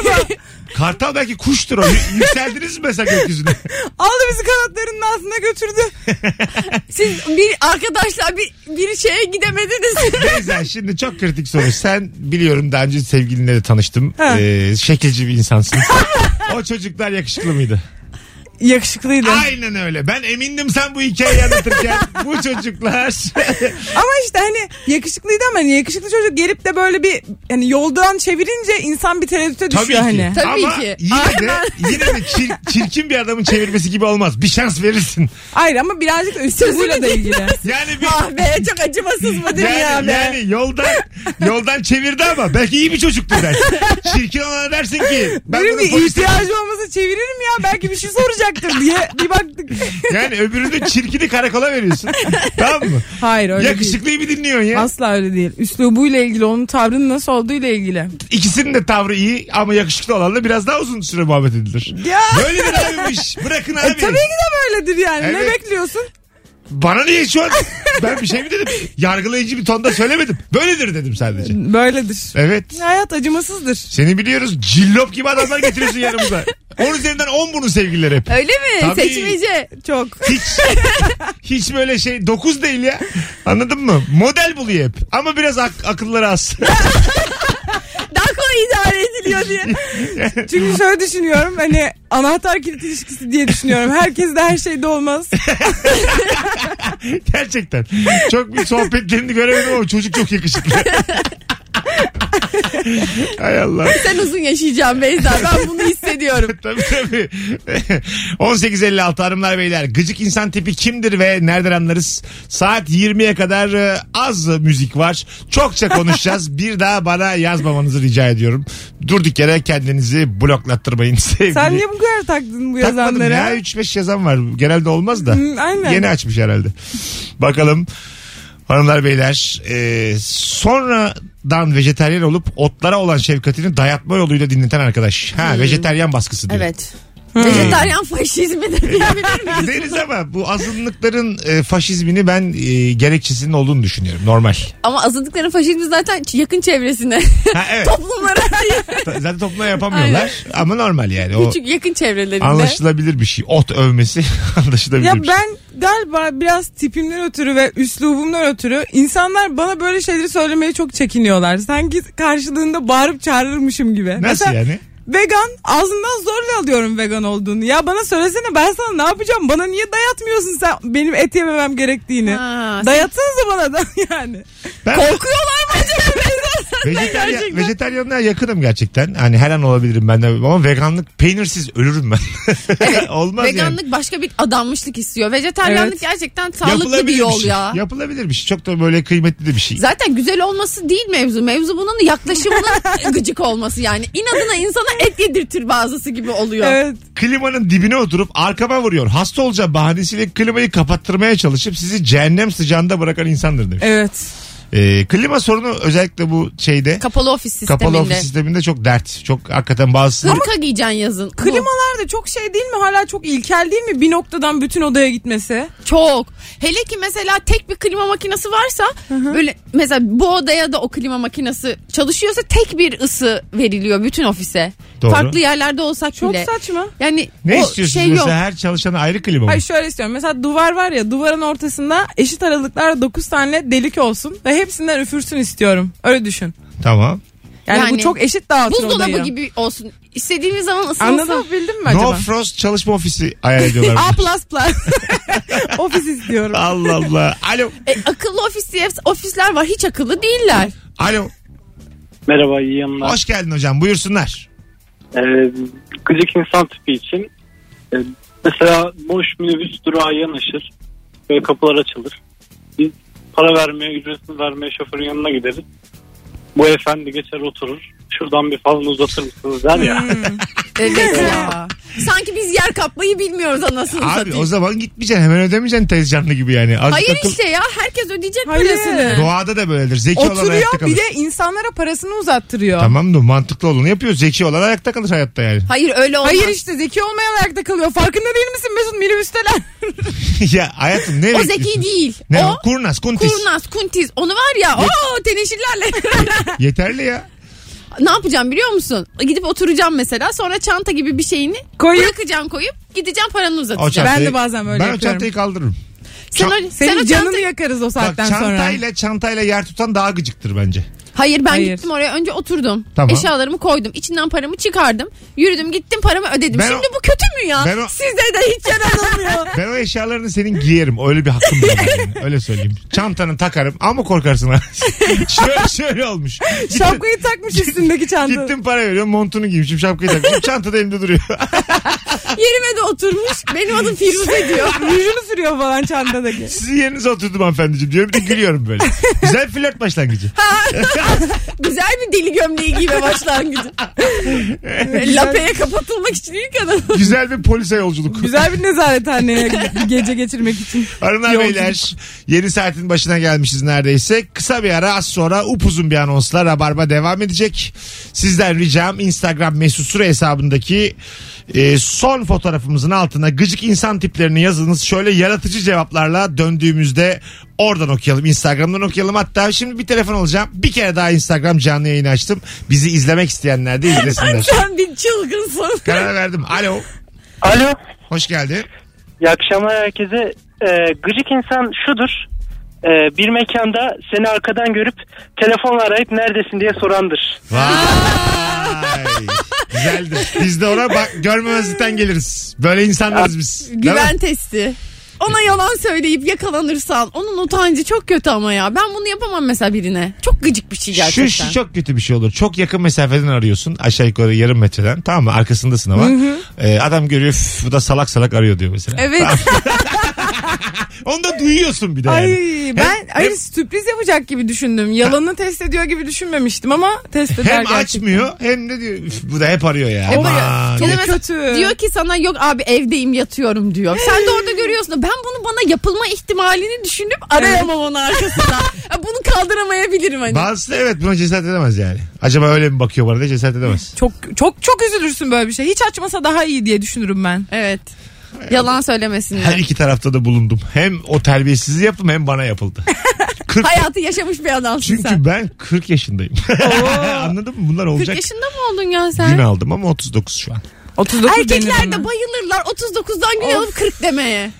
[SPEAKER 3] acaba?
[SPEAKER 2] Kartal belki kuştur o. Y- Yükseldiniz mi mesela gökyüzüne?
[SPEAKER 3] Aldı bizi kanatlarının altına götürdü.
[SPEAKER 4] Siz bir arkadaşlar bir, bir şeye gidemediniz.
[SPEAKER 2] Beyza şimdi çok kritik soru. Sen biliyorum daha önce sevgilinle de tanıştım.
[SPEAKER 3] Ha.
[SPEAKER 2] Ee, şekilci bir insansın. o çocuklar yakışıklı mıydı?
[SPEAKER 3] Yakışıklıydı.
[SPEAKER 2] Aynen öyle. Ben emindim sen bu hikayeyi anlatırken. bu çocuklar.
[SPEAKER 3] Ama işte hani yakışıklıydı ama hani yakışıklı çocuk gelip de böyle bir hani yoldan çevirince insan bir tereddüte düşüyor
[SPEAKER 2] Tabii ki.
[SPEAKER 3] hani.
[SPEAKER 4] Tabii
[SPEAKER 2] Ama
[SPEAKER 4] ki.
[SPEAKER 2] yine de, yine de çir- çirkin bir adamın çevirmesi gibi olmaz. Bir şans verirsin.
[SPEAKER 3] Hayır ama birazcık da üslubuyla da ilgili.
[SPEAKER 2] Yani bir...
[SPEAKER 4] ah be çok acımasız bu dünya
[SPEAKER 2] Yani,
[SPEAKER 4] be.
[SPEAKER 2] yani yoldan yoldan çevirdi ama belki iyi bir çocuktur der. Çirkin olana dersin ki ben
[SPEAKER 3] Dedim
[SPEAKER 2] bunu
[SPEAKER 3] ki
[SPEAKER 2] polise
[SPEAKER 3] ihtiyacı olmasa çeviririm ya belki bir şey soracaktır diye bir baktık.
[SPEAKER 2] Yani öbürünü çirkini karakola veriyorsun. tamam mı?
[SPEAKER 3] Hayır öyle değil.
[SPEAKER 2] Yakışıklıyı bir dinliyorsun ya.
[SPEAKER 3] Asla öyle değil. Üslubuyla ilgili onun tavrının nasıl olduğuyla ilgili.
[SPEAKER 2] İkisinin de tavrı iyi ama yakışıklı olanla biraz daha uzun süre muhabbet edilir.
[SPEAKER 3] Ya.
[SPEAKER 2] Böyledir abiymiş. Bırakın abi.
[SPEAKER 3] E, tabii ki de böyledir yani. Ne
[SPEAKER 2] Evet.
[SPEAKER 3] bekliyorsun?
[SPEAKER 2] Bana niye şu an ben bir şey mi dedim? Yargılayıcı bir tonda söylemedim. Böyledir dedim sadece.
[SPEAKER 3] Böyledir.
[SPEAKER 2] Evet.
[SPEAKER 3] Hayat acımasızdır.
[SPEAKER 2] Seni biliyoruz cillop gibi adamlar getiriyorsun yanımıza. 10 üzerinden 10 bunun sevgilileri hep.
[SPEAKER 4] Öyle mi?
[SPEAKER 2] Tabii.
[SPEAKER 4] Seçmece çok.
[SPEAKER 2] Hiç, hiç böyle şey 9 değil ya. Anladın mı? Model buluyor hep. Ama biraz ak- akılları az.
[SPEAKER 4] Daha kolay idare ediliyor diye.
[SPEAKER 3] Çünkü şöyle düşünüyorum hani anahtar kilit ilişkisi diye düşünüyorum. Herkes de her şeyde olmaz.
[SPEAKER 2] Gerçekten. Çok bir sohbetlerini göremedim ama çocuk çok yakışıklı. Hay Allah.
[SPEAKER 4] Sen uzun yaşayacaksın Beyza. Ben bunu hissediyorum.
[SPEAKER 2] tabii tabii. 18.56 hanımlar beyler. Gıcık insan tipi kimdir ve nereden anlarız? Saat 20'ye kadar e, az müzik var. Çokça konuşacağız. Bir daha bana yazmamanızı rica ediyorum. Durduk yere kendinizi bloklattırmayın sevgili.
[SPEAKER 3] Sen niye bu kadar taktın bu
[SPEAKER 2] Takmadım
[SPEAKER 3] yazanlara?
[SPEAKER 2] ya 3-5 yazan var. Genelde olmaz da.
[SPEAKER 3] Hmm, aynen.
[SPEAKER 2] Yeni açmış herhalde. Bakalım. Hanımlar beyler e, sonradan vejeteryan olup otlara olan şefkatini dayatma yoluyla dinleten arkadaş.
[SPEAKER 3] Hmm.
[SPEAKER 2] Ha vejeteryan baskısı diyor.
[SPEAKER 4] Evet. Vejetaryen faşizmi de diyebilir miyim?
[SPEAKER 2] Deriz ama bu azınlıkların e, faşizmini ben e, gerekçesinin olduğunu düşünüyorum. Normal.
[SPEAKER 4] Ama azınlıkların faşizmi zaten ç- yakın çevresine.
[SPEAKER 2] Ha, evet.
[SPEAKER 4] Toplumlara değil.
[SPEAKER 2] Ta- Zaten topluma yapamıyorlar ama normal yani. O
[SPEAKER 4] Küçük yakın çevrelerinde.
[SPEAKER 2] anlaşılabilir bir şey. Ot övmesi anlaşılabilir
[SPEAKER 3] Ya
[SPEAKER 2] bir şey.
[SPEAKER 3] ben galiba biraz tipimden ötürü ve üslubumdan ötürü insanlar bana böyle şeyleri söylemeye çok çekiniyorlar. Sanki karşılığında bağırıp çağırırmışım gibi.
[SPEAKER 2] Nasıl
[SPEAKER 3] Mesela
[SPEAKER 2] yani?
[SPEAKER 3] Vegan ağzından zorla alıyorum vegan olduğunu. Ya bana söylesene ben sana ne yapacağım? Bana niye dayatmıyorsun sen benim et yememem gerektiğini?
[SPEAKER 4] Ha, sen-
[SPEAKER 3] Dayatsanıza bana da yani.
[SPEAKER 2] Ben
[SPEAKER 4] Korkuyorlar mı acaba Beyza?
[SPEAKER 2] vejeteryan,
[SPEAKER 4] Gerçekten.
[SPEAKER 2] vejeteryanlığa yakınım gerçekten. Hani her an olabilirim ben de ama veganlık peynirsiz ölürüm ben. Olmaz yani.
[SPEAKER 4] Veganlık başka bir adanmışlık istiyor. Vejetaryenlik
[SPEAKER 3] Evet.
[SPEAKER 4] gerçekten sağlıklı bir yol
[SPEAKER 2] şey.
[SPEAKER 4] ya.
[SPEAKER 2] Yapılabilir bir şey. Çok da böyle kıymetli de bir şey.
[SPEAKER 4] Zaten güzel olması değil mevzu. Mevzu bunun yaklaşımının gıcık olması yani. İnadına insana et yedirtir bazısı gibi oluyor.
[SPEAKER 3] Evet.
[SPEAKER 2] klimanın dibine oturup arkama vuruyor. Hasta olacağım bahanesiyle klimayı kapattırmaya çalışıp sizi cehennem sıcağında bırakan insandır demiş.
[SPEAKER 3] Evet.
[SPEAKER 2] Ee, klima sorunu özellikle bu şeyde
[SPEAKER 4] Kapalı ofis sisteminde.
[SPEAKER 2] kapalı ofis sisteminde çok dert. Çok hakikaten bazı
[SPEAKER 4] Hırka giyeceksin yazın. Bu.
[SPEAKER 3] Klimalar da çok şey değil mi? Hala çok ilkel değil mi? Bir noktadan bütün odaya gitmesi.
[SPEAKER 4] Çok. Hele ki mesela tek bir klima makinesi varsa böyle mesela bu odaya da o klima makinesi çalışıyorsa tek bir ısı veriliyor bütün ofise.
[SPEAKER 2] Doğru.
[SPEAKER 4] Farklı yerlerde olsak
[SPEAKER 3] Çok
[SPEAKER 4] bile.
[SPEAKER 3] saçma.
[SPEAKER 4] Yani
[SPEAKER 2] ne
[SPEAKER 4] o
[SPEAKER 2] istiyorsunuz
[SPEAKER 4] şey
[SPEAKER 2] mesela
[SPEAKER 4] yok.
[SPEAKER 2] her çalışana ayrı klima mı?
[SPEAKER 3] Hayır şöyle istiyorum. Mesela duvar var ya duvarın ortasında eşit aralıklarla 9 tane delik olsun ve hepsinden üfürsün istiyorum. Öyle düşün.
[SPEAKER 2] Tamam.
[SPEAKER 3] Yani, bu
[SPEAKER 4] Yani
[SPEAKER 3] çok eşit dağıtır
[SPEAKER 4] Buzdolabı
[SPEAKER 3] odayı.
[SPEAKER 4] gibi olsun. İstediğiniz zaman ısınsın.
[SPEAKER 3] Anladın bildim mi
[SPEAKER 2] No
[SPEAKER 3] acaba?
[SPEAKER 2] frost çalışma ofisi ayar ediyorlar.
[SPEAKER 3] A plus plus. Ofis istiyorum.
[SPEAKER 2] Allah Allah. Alo.
[SPEAKER 4] E, akıllı ofis diye ofisler var hiç akıllı değiller.
[SPEAKER 2] Alo.
[SPEAKER 6] Merhaba iyi yayınlar.
[SPEAKER 2] Hoş geldin hocam. Buyursunlar.
[SPEAKER 6] Ee, gıcık insan tipi için e, mesela boş minibüs durağa yanaşır ve kapılar açılır. Biz para vermeye, ücretsiz vermeye şoförün yanına gideriz. Bu efendi geçer oturur. Şuradan bir falan uzatır mısınız der ya.
[SPEAKER 4] Evet ya. Sanki biz yer kapmayı bilmiyoruz anasını
[SPEAKER 2] Abi
[SPEAKER 4] satayım.
[SPEAKER 2] o zaman gitmeyeceksin. Hemen ödemeyeceksin tez canlı gibi yani. Azıcık
[SPEAKER 4] Hayır
[SPEAKER 2] akıl-
[SPEAKER 4] işte ya herkes ödeyecek
[SPEAKER 3] Hayır.
[SPEAKER 4] parasını.
[SPEAKER 2] Doğada da böyledir. Zeki olan ayakta
[SPEAKER 3] Oturuyor
[SPEAKER 2] kalır.
[SPEAKER 3] bir de insanlara parasını uzattırıyor.
[SPEAKER 2] Tamam da mantıklı olanı yapıyor. Zeki olan ayakta kalır hayatta yani.
[SPEAKER 4] Hayır öyle olmaz.
[SPEAKER 3] Hayır işte zeki olmayan ayakta kalıyor. Farkında değil misin Mesut minibüsteler?
[SPEAKER 2] ya hayatım ne
[SPEAKER 4] o
[SPEAKER 2] bekliyorsun?
[SPEAKER 4] zeki değil.
[SPEAKER 2] Ne
[SPEAKER 4] o
[SPEAKER 2] o? Kurnaz, kuntis.
[SPEAKER 4] kurnaz, kuntiz. Onu var ya o teneşirlerle.
[SPEAKER 2] Yeterli ya.
[SPEAKER 4] ne yapacağım biliyor musun? Gidip oturacağım mesela sonra çanta gibi bir şeyini
[SPEAKER 3] Koyup-
[SPEAKER 4] bırakacağım koyup gideceğim paranı
[SPEAKER 2] O
[SPEAKER 4] uzatacağım.
[SPEAKER 2] çantayı,
[SPEAKER 3] Ben de bazen böyle
[SPEAKER 2] Ben o
[SPEAKER 3] yapıyorum.
[SPEAKER 2] çantayı kaldırırım.
[SPEAKER 4] Sen,
[SPEAKER 2] Çan-
[SPEAKER 4] o, sen
[SPEAKER 3] Senin
[SPEAKER 4] o
[SPEAKER 3] canını
[SPEAKER 4] çanta-
[SPEAKER 3] yakarız o
[SPEAKER 2] Bak
[SPEAKER 3] saatten sonra.
[SPEAKER 2] çantayla çantayla yer tutan daha gıcıktır bence.
[SPEAKER 4] Hayır ben
[SPEAKER 3] Hayır.
[SPEAKER 4] gittim oraya önce oturdum.
[SPEAKER 2] Tamam.
[SPEAKER 4] Eşyalarımı koydum. içinden paramı çıkardım. Yürüdüm gittim paramı ödedim.
[SPEAKER 2] Ben o-
[SPEAKER 4] Şimdi bu kötü mü ya?
[SPEAKER 2] Ben o-
[SPEAKER 4] Sizde de hiç yaranılmıyor.
[SPEAKER 2] Ben o eşyalarını senin giyerim. Öyle bir hakkım var. benim. Öyle söyleyeyim. Çantanı takarım ama korkarsın ha. şöyle, şöyle olmuş. Gittim-
[SPEAKER 3] Şapkayı takmış üstündeki çanta.
[SPEAKER 2] Gittim para veriyorum montunu giymişim şapkayı takmışım çanta da elimde duruyor.
[SPEAKER 4] Yerime de oturmuş. Benim adım Firuze diyor.
[SPEAKER 3] Rujunu Şey- sürüyor falan çantadaki.
[SPEAKER 2] Sizin yerinize oturdum hanımefendiciğim diyorum bir de gülüyorum böyle. Güzel flört başlangıcı.
[SPEAKER 4] Güzel bir deli gömleği giyme başlangıcı. Lapeye kapatılmak için ilk adam.
[SPEAKER 2] Güzel bir polise yolculuk.
[SPEAKER 3] Güzel bir nezarethaneye bir gece geçirmek için.
[SPEAKER 2] Hanımlar
[SPEAKER 3] Yolculuk.
[SPEAKER 2] beyler yeni saatin başına gelmişiz neredeyse. Kısa bir ara az sonra upuzun bir anonsla Rabarba devam edecek. Sizden ricam Instagram mesut süre hesabındaki Ee, son fotoğrafımızın altına gıcık insan tiplerini yazınız. Şöyle yaratıcı cevaplarla döndüğümüzde oradan okuyalım. Instagram'dan okuyalım. Hatta şimdi bir telefon alacağım. Bir kere daha Instagram canlı yayını açtım. Bizi izlemek isteyenler de izlesinler.
[SPEAKER 4] Sen bir çılgınsın.
[SPEAKER 2] Karar verdim. Alo.
[SPEAKER 13] Alo.
[SPEAKER 2] Hoş geldin.
[SPEAKER 13] İyi akşamlar herkese. Ee, gıcık insan şudur. Ee, bir mekanda seni arkadan görüp telefonla arayıp neredesin diye sorandır.
[SPEAKER 2] Vay. Güzeldi. Biz de ona bak görmemezlikten geliriz. Böyle insanlarız biz. Değil mi?
[SPEAKER 4] Güven testi. Ona yalan söyleyip yakalanırsan onun utancı çok kötü ama ya. Ben bunu yapamam mesela birine. Çok gıcık bir şey gerçekten.
[SPEAKER 2] Şu, şu çok kötü bir şey olur. Çok yakın mesafeden arıyorsun. Aşağı yukarı yarım metreden. Tamam mı? Arkasındasın ama.
[SPEAKER 4] Hı hı.
[SPEAKER 2] Ee, adam görüyor. "Üf, Bu da salak salak arıyor diyor mesela.
[SPEAKER 3] Evet.
[SPEAKER 2] Onu da duyuyorsun bir de
[SPEAKER 3] Ay
[SPEAKER 2] yani.
[SPEAKER 3] ben
[SPEAKER 2] Hem-
[SPEAKER 3] ay sürpriz yapacak gibi düşündüm. Yalanı test ediyor gibi düşünmemiştim ama test eder
[SPEAKER 2] Hem
[SPEAKER 3] gerçekten.
[SPEAKER 2] açmıyor hem de diyor "Üf, bu da hep arıyor ya. Aman.
[SPEAKER 4] Çok kötü. Diyor ki sana yok abi evdeyim yatıyorum diyor. Sen de orada görüyorsun. Ben bunu bana yapılma ihtimalini düşünüp arayamam onu arkasından. Ya bunu kaldıramayabilirim hani.
[SPEAKER 2] Bazısı da evet buna cesaret edemez yani. Acaba öyle mi bakıyor bana diye cesaret edemez.
[SPEAKER 3] Çok çok çok üzülürsün böyle bir şey. Hiç açmasa daha iyi diye düşünürüm ben.
[SPEAKER 4] Evet. Yalan söylemesinler.
[SPEAKER 2] Her iki tarafta da bulundum. Hem o terbiyesizliği yaptım hem bana yapıldı.
[SPEAKER 4] Hayatı yaşamış bir adamsın
[SPEAKER 2] Çünkü
[SPEAKER 4] sen.
[SPEAKER 2] ben 40 yaşındayım. Anladın mı? Bunlar
[SPEAKER 4] 40
[SPEAKER 2] olacak.
[SPEAKER 4] yaşında mı oldun ya sen?
[SPEAKER 2] Gün aldım ama 39 şu an.
[SPEAKER 3] 39
[SPEAKER 4] Erkekler de bayılırlar 39'dan gün alıp 40 demeye.